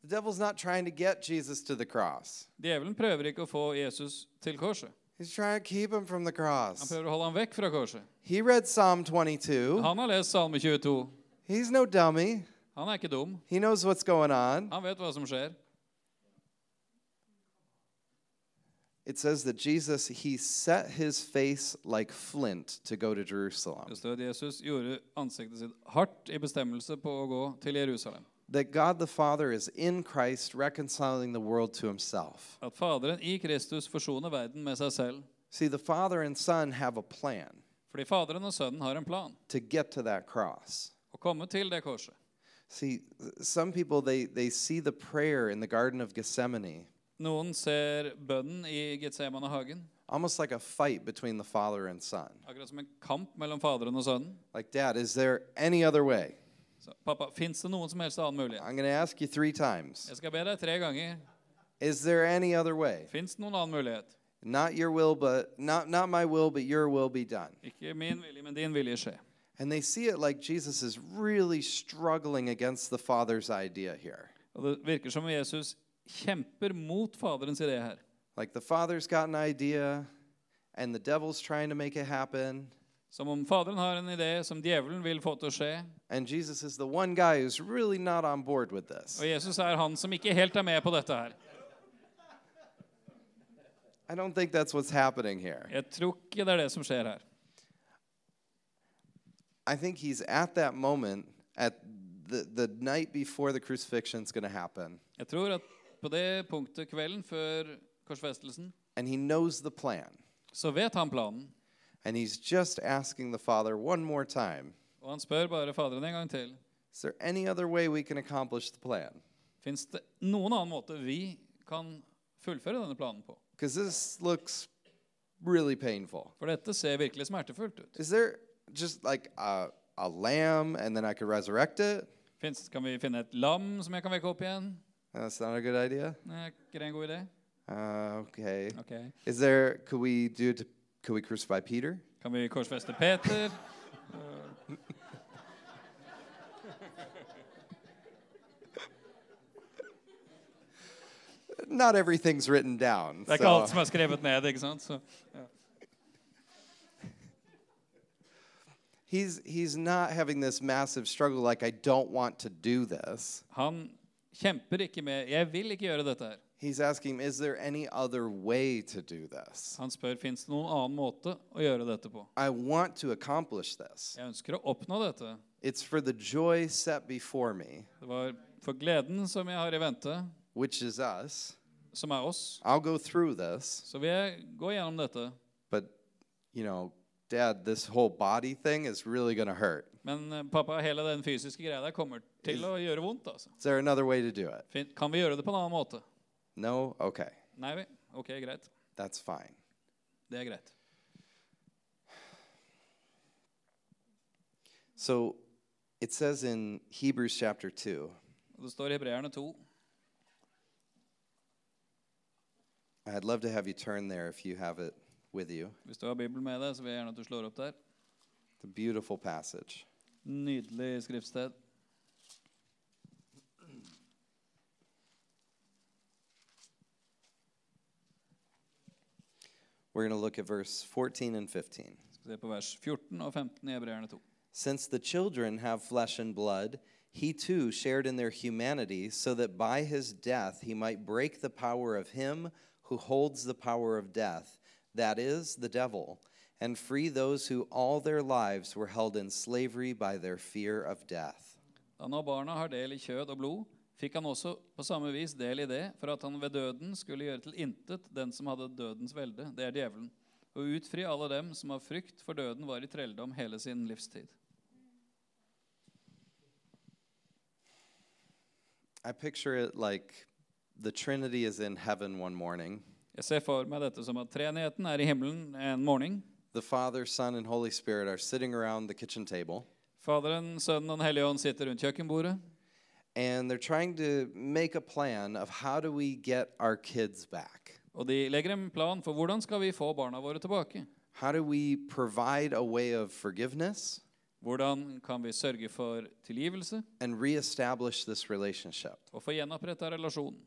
Speaker 1: The devil's not trying to get Jesus to the cross.
Speaker 2: Djevelen prøver ikke å få Jesus til korset.
Speaker 1: He's trying to keep him from the
Speaker 2: Han
Speaker 1: cross.
Speaker 2: prøver å holde ham vekk fra korset.
Speaker 1: He read Psalm 22.
Speaker 2: Han har lest Salme 22.
Speaker 1: He's no dummy.
Speaker 2: Han er ikke dum.
Speaker 1: He knows what's going on.
Speaker 2: Han vet hva som skjer.
Speaker 1: It says that Jesus, he set his face like flint to go to Jerusalem.
Speaker 2: Det står at Jesus gjorde ansiktet sitt hardt i bestemmelse på å gå til Jerusalem.
Speaker 1: That God the Father is in Christ reconciling the world to himself.
Speaker 2: At Faderen i Kristus forsoner verden med seg selv.
Speaker 1: See, the Father and Son have a plan
Speaker 2: Fordi Faderen og Sønnen har en plan
Speaker 1: to get to that cross.
Speaker 2: å komme til det korset.
Speaker 1: See, some people they, they see the prayer in the Garden of Gethsemane
Speaker 2: Noen ser bønnen i Getsemanehagen,
Speaker 1: almost like a fight between the father and son.
Speaker 2: akkurat som en kamp mellom Faderen og Sønnen.
Speaker 1: Like, Dad, is there any other way?
Speaker 2: Så, pappa, fins det noen som helst annen mulighet?
Speaker 1: I'm going to ask you three times.
Speaker 2: Jeg skal be deg tre ganger.
Speaker 1: Is there any other way?
Speaker 2: Fins det noen annen mulighet?
Speaker 1: Not your will, but not, not my will, but your will be done.
Speaker 2: Ikke min vilje, men din vilje skje.
Speaker 1: And they see it like Jesus is really struggling against the father's idea here.
Speaker 2: Og Det virker som om Jesus kjemper mot Faderens idé her.
Speaker 1: Like the father's got an idea and the devil's trying to make it happen.
Speaker 2: Som om Faderen har en idé som djevelen vil få til å skje,
Speaker 1: And Jesus is the one guy who's really not on board with this.
Speaker 2: og Jesus er han som ikke helt er med på dette her.
Speaker 1: I don't think that's what's happening here.
Speaker 2: Jeg tror ikke det er det som skjer her.
Speaker 1: I think he's at that moment at the, the night before the crucifixion's going to happen.
Speaker 2: Jeg tror at på det punktet kvelden før korsfestelsen,
Speaker 1: And he knows the plan.
Speaker 2: så vet han planen,
Speaker 1: And he's just asking the Father one more time
Speaker 2: og han spør bare Faderen en gang til.
Speaker 1: Is there any other way we can accomplish the plan?
Speaker 2: Fins det noen annen måte vi kan fullføre denne planen på?
Speaker 1: Because this looks really painful.
Speaker 2: For dette ser virkelig smertefullt ut.
Speaker 1: Is there just like a, a lamb and then I could resurrect it?
Speaker 2: Finnes, kan vi finne et lam som jeg kan vekke opp igjen?
Speaker 1: That's not a good idea.
Speaker 2: Nei, er ikke det en god idé?
Speaker 1: Uh, okay.
Speaker 2: Ok.
Speaker 1: Is there, could we do it? To, could we crucify Peter?
Speaker 2: Kan vi korsfeste Peter?
Speaker 1: Not everything's written down.
Speaker 2: Det er ikke
Speaker 1: so-
Speaker 2: alt som er skrevet ned, ikke sant? Så, ja.
Speaker 1: He's he's not having this massive struggle like I don't want to do this.
Speaker 2: Han kjemper ikke med 'Jeg vil ikke gjøre dette her'.
Speaker 1: He's asking, is there any other way to do this?
Speaker 2: Han spør fins det noen annen måte å gjøre dette på.
Speaker 1: I want to accomplish this.
Speaker 2: Jeg ønsker å oppnå dette.
Speaker 1: It's for the joy set before me,
Speaker 2: Det var for gleden som jeg har i vente,
Speaker 1: which is us.
Speaker 2: som er oss.
Speaker 1: I'll go through this,
Speaker 2: Så vil jeg gå gjennom dette.
Speaker 1: but you know, dad, this whole body thing is really going to hurt.
Speaker 2: Men eh, pappa, hele den fysiske greia der kommer til å gjøre vondt. altså.
Speaker 1: Is there another way to do it?
Speaker 2: Fin- Kan vi gjøre det på en annen måte?
Speaker 1: No? Okay.
Speaker 2: Nei vel. Ok, greit.
Speaker 1: That's fine.
Speaker 2: Det er greit.
Speaker 1: So it says in Hebrews chapter 2,
Speaker 2: Og Det står i Hebreerne 2.
Speaker 1: I'd love to have you turn there if you have it with you.
Speaker 2: Hvis du har Bibelen med deg, så vil jeg gjerne at du slår opp der.
Speaker 1: The beautiful passage.
Speaker 2: Nydelig skriftsted.
Speaker 1: We're going to look at verse 14 and 15.
Speaker 2: Skal vi se på vers 14 og 15 i Hebreerne 2.
Speaker 1: Since the children have flesh and blood, he too shared in their humanity, so that by his death he might break the power of him who holds the power of death, that is, the devil, and free those who all their lives were held in slavery by their fear of death.
Speaker 2: Da nå barna har del i kjød og blod, fikk han også på samme vis del i det, for at han ved døden skulle gjøre til intet den som hadde dødens velde, det er djevelen, og utfri alle dem som av frykt for døden var i trelldom hele sin livstid.
Speaker 1: I picture it like the Trinity is in heaven one morning.
Speaker 2: Jeg ser for meg dette som at treenigheten er i himmelen en morgen.
Speaker 1: The Father, Son, and Holy Spirit are sitting around the kitchen table.
Speaker 2: Faderen, Sønnen og Den hellige ånd sitter rundt kjøkkenbordet,
Speaker 1: and they're trying to make a plan of how do we get our kids back?
Speaker 2: og de legger en plan for hvordan skal vi få barna våre tilbake.
Speaker 1: How do we provide a way of forgiveness
Speaker 2: Hvordan kan vi sørge for tilgivelse
Speaker 1: and reestablish this relationship?
Speaker 2: og få gjenoppretta relasjonen?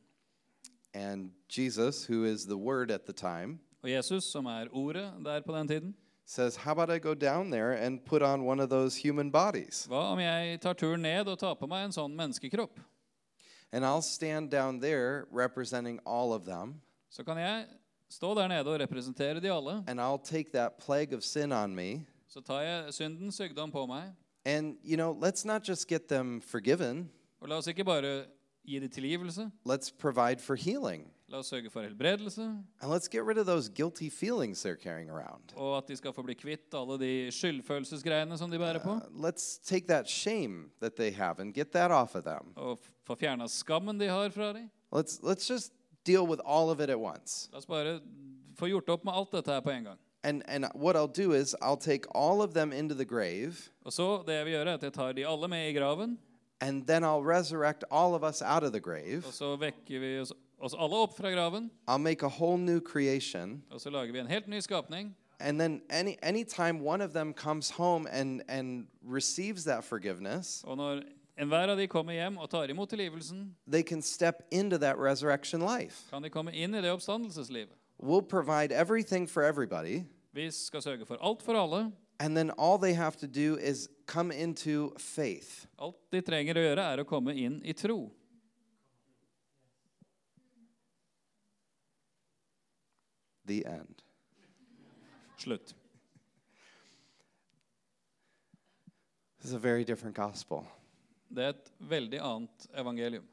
Speaker 1: And Jesus, who is the Word at the time,
Speaker 2: Og Jesus, som er ordet der på den tiden,
Speaker 1: says, How about I go down there and put on one of those human bodies?
Speaker 2: Hva om jeg tar turen ned og tar på meg en sånn menneskekropp?
Speaker 1: And I'll stand down there representing all of them,
Speaker 2: Så kan jeg stå der nede og representere de alle.
Speaker 1: and I'll take that plague of sin on me.
Speaker 2: Så tar jeg syndens sykdom på meg.
Speaker 1: And, you know, let's not just get them forgiven,
Speaker 2: Og la oss ikke bare gi de tilgivelse.
Speaker 1: let's provide for healing.
Speaker 2: La oss sørge for helbredelse,
Speaker 1: And let's get rid of those guilty feelings they're carrying around.
Speaker 2: og at de skal få bli kvitt alle de skyldfølelsesgreiene som de bærer på.
Speaker 1: Uh, let's take that shame that they have and get that off of them.
Speaker 2: Og f- få fjerna skammen de har fra dem.
Speaker 1: Let's let's just deal with all of it at once.
Speaker 2: La oss bare få gjort opp med alt dette her på en gang.
Speaker 1: And and what I'll do is I'll take all of them into the grave
Speaker 2: Og så, det jeg vil gjøre, er at jeg tar de alle med i graven,
Speaker 1: and then I'll resurrect all of us out of the
Speaker 2: og
Speaker 1: grave.
Speaker 2: så vekker vi oss, oss alle opp fra graven,
Speaker 1: I'll make a whole new creation.
Speaker 2: og så lager vi en helt ny skapning.
Speaker 1: And then any anytime one of them comes home and and receives that forgiveness,
Speaker 2: Og når enhver av de kommer hjem og tar imot tilgivelsen,
Speaker 1: they can step into that resurrection life.
Speaker 2: kan de komme inn i det oppstandelseslivet.
Speaker 1: We'll provide everything for everybody,
Speaker 2: Vi skal sørge for alt for alle.
Speaker 1: and then all they have to do is come into faith.
Speaker 2: Alt de trenger å gjøre, er å komme inn i tro.
Speaker 1: The end.
Speaker 2: Slutt.
Speaker 1: This is a very different gospel,
Speaker 2: Det er et veldig annet evangelium.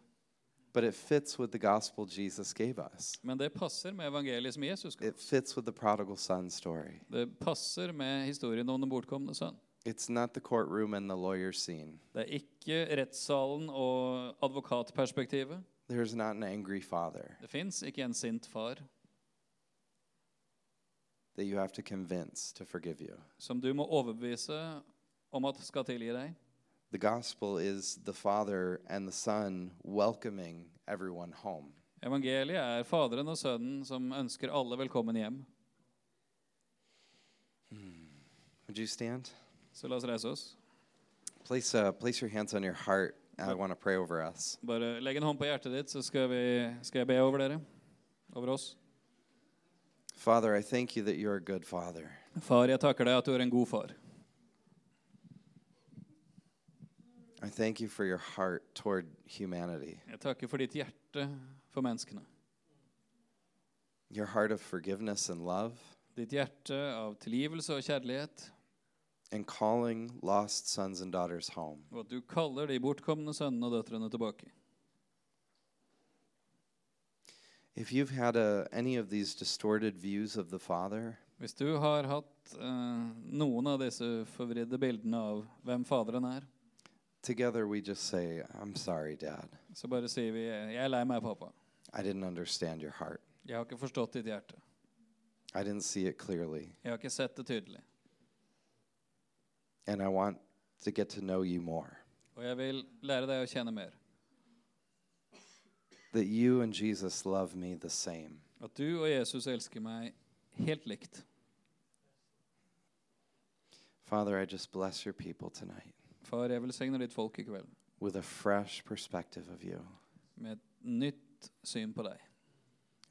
Speaker 1: but it fits with the gospel Jesus gave us.
Speaker 2: Men det passer med evangeliet som Jesus ga.
Speaker 1: It fits with the prodigal son story.
Speaker 2: Det passer med historien om den bortkomne sønn.
Speaker 1: It's not the courtroom and the lawyer scene.
Speaker 2: Det er ikke rettssalen og advokatperspektivet.
Speaker 1: There's not an angry father
Speaker 2: Det fins ikke en sint far
Speaker 1: that you have to convince to forgive you.
Speaker 2: som du må overbevise om at skal tilgi deg.
Speaker 1: The gospel is the Father and the Son welcoming everyone home.
Speaker 2: Evangeliet er Faderen og Sønnen som ønsker alle velkommen hjem.
Speaker 1: Would you stand?
Speaker 2: Så la oss reise oss.
Speaker 1: Place, uh, place your hands on your heart. I
Speaker 2: Yep.
Speaker 1: want to pray over us.
Speaker 2: Bare legg en hånd på hjertet ditt, så skal, vi, skal jeg be over dere. Over oss.
Speaker 1: Father, I thank you that you're a good father.
Speaker 2: Far, jeg takker deg at du er en god far.
Speaker 1: I thank you for your heart toward humanity,
Speaker 2: Jeg takker for ditt hjerte for menneskene.
Speaker 1: your heart of forgiveness and love,
Speaker 2: Ditt hjerte av tilgivelse og kjærlighet,
Speaker 1: and calling lost sons and daughters home.
Speaker 2: og at du kaller de bortkomne sønnene og døtrene tilbake.
Speaker 1: If you've had uh any of these distorted views of the Father,
Speaker 2: Hvis du har hatt eh, noen av disse forvridde bildene av hvem Faderen er,
Speaker 1: together we just say, I'm sorry, Dad.
Speaker 2: så bare sier vi 'Jeg er lei meg, pappa.
Speaker 1: I didn't understand your heart,
Speaker 2: Jeg har ikke forstått ditt hjerte.
Speaker 1: I didn't see it clearly.
Speaker 2: Jeg har ikke sett det tydelig.
Speaker 1: and I want to get to know you more.
Speaker 2: Og jeg vil lære deg å kjenne mer.
Speaker 1: That you and Jesus love me the same.
Speaker 2: At du og Jesus elsker meg helt likt.
Speaker 1: Father, I just bless your people tonight
Speaker 2: Far, jeg velsigner ditt folk i kveld
Speaker 1: with a fresh perspective of you
Speaker 2: med et nytt syn på deg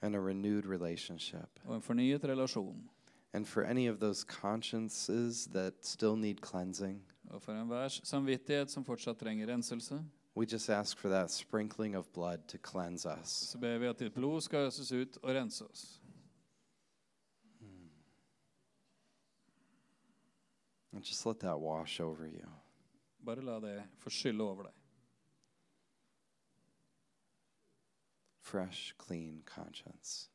Speaker 1: and a renewed relationship.
Speaker 2: og en fornyet relasjon.
Speaker 1: And for any of those consciences that still need cleansing,
Speaker 2: Og for enhvers samvittighet som fortsatt trenger renselse,
Speaker 1: we just ask for that sprinkling of blood to cleanse us.
Speaker 2: så ber vi at ditt blod skal øses ut og rense oss.
Speaker 1: And just let that wash over you.
Speaker 2: Bare la det få skylle over deg.
Speaker 1: Fresh, clean conscience.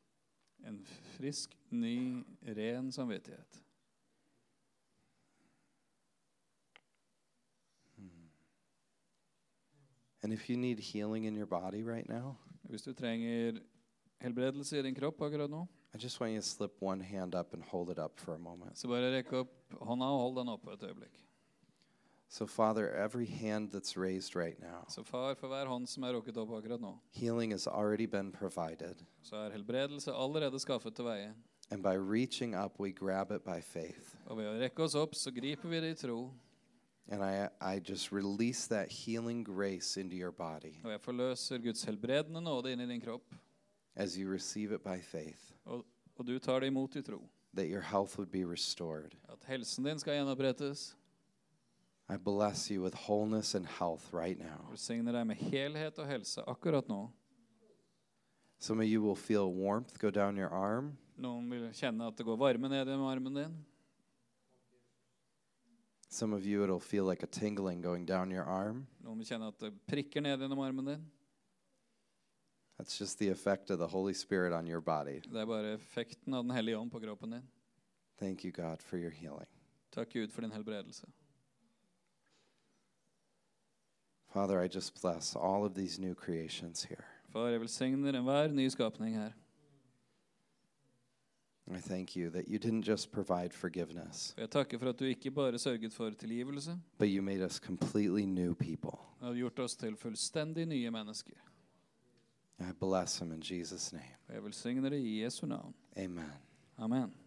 Speaker 2: En frisk, ny, ren samvittighet.
Speaker 1: And if you need healing in your body right now,
Speaker 2: Hvis du trenger helbredelse i din kropp akkurat nå,
Speaker 1: I just want you to slip one hand up and hold it up for a moment.
Speaker 2: så bare rekk opp hånda og hold den oppe et øyeblikk.
Speaker 1: So, Father, every hand that's raised right now,
Speaker 2: Så far, for hver hånd som er rukket opp akkurat nå,
Speaker 1: healing has already been provided.
Speaker 2: så er helbredelse allerede skaffet til veie.
Speaker 1: And by reaching up, we grab it by faith.
Speaker 2: Og ved å rekke oss opp, så griper vi det i tro.
Speaker 1: And I, I just release that healing grace into your body
Speaker 2: Og jeg forløser Guds helbredende nåde inn i din kropp.
Speaker 1: as you receive it by faith,
Speaker 2: Og, og du tar det imot i tro.
Speaker 1: that your health would be restored.
Speaker 2: At helsen din skal gjenopprettes.
Speaker 1: I bless you with wholeness and health right now.
Speaker 2: Velsigner deg med helhet og helse akkurat nå.
Speaker 1: Some of you will feel warmth go down your arm.
Speaker 2: Noen vil kjenne at det går varme ned gjennom armen din.
Speaker 1: Some of you, it'll feel like a tingling going down your arm.
Speaker 2: Noen vil kjenne at det prikker ned gjennom armen din.
Speaker 1: That's It's just the effect of the Holy Spirit on your body.
Speaker 2: Det er bare effekten av Den hellige ånd på kroppen din.
Speaker 1: Thank you, God, for your healing.
Speaker 2: Takk, Gud, for din helbredelse.
Speaker 1: Father, I just bless all of these new creations here.
Speaker 2: Far, jeg velsigner enhver ny skapning her.
Speaker 1: I thank you that you didn't just provide forgiveness,
Speaker 2: Og jeg takker for at du ikke bare sørget for tilgivelse,
Speaker 1: but you made us completely new people.
Speaker 2: men har gjort oss til fullstendig nye mennesker.
Speaker 1: I bless them in Jesus' name.
Speaker 2: Og jeg velsigner det i Jesu navn.
Speaker 1: Amen.
Speaker 2: Amen.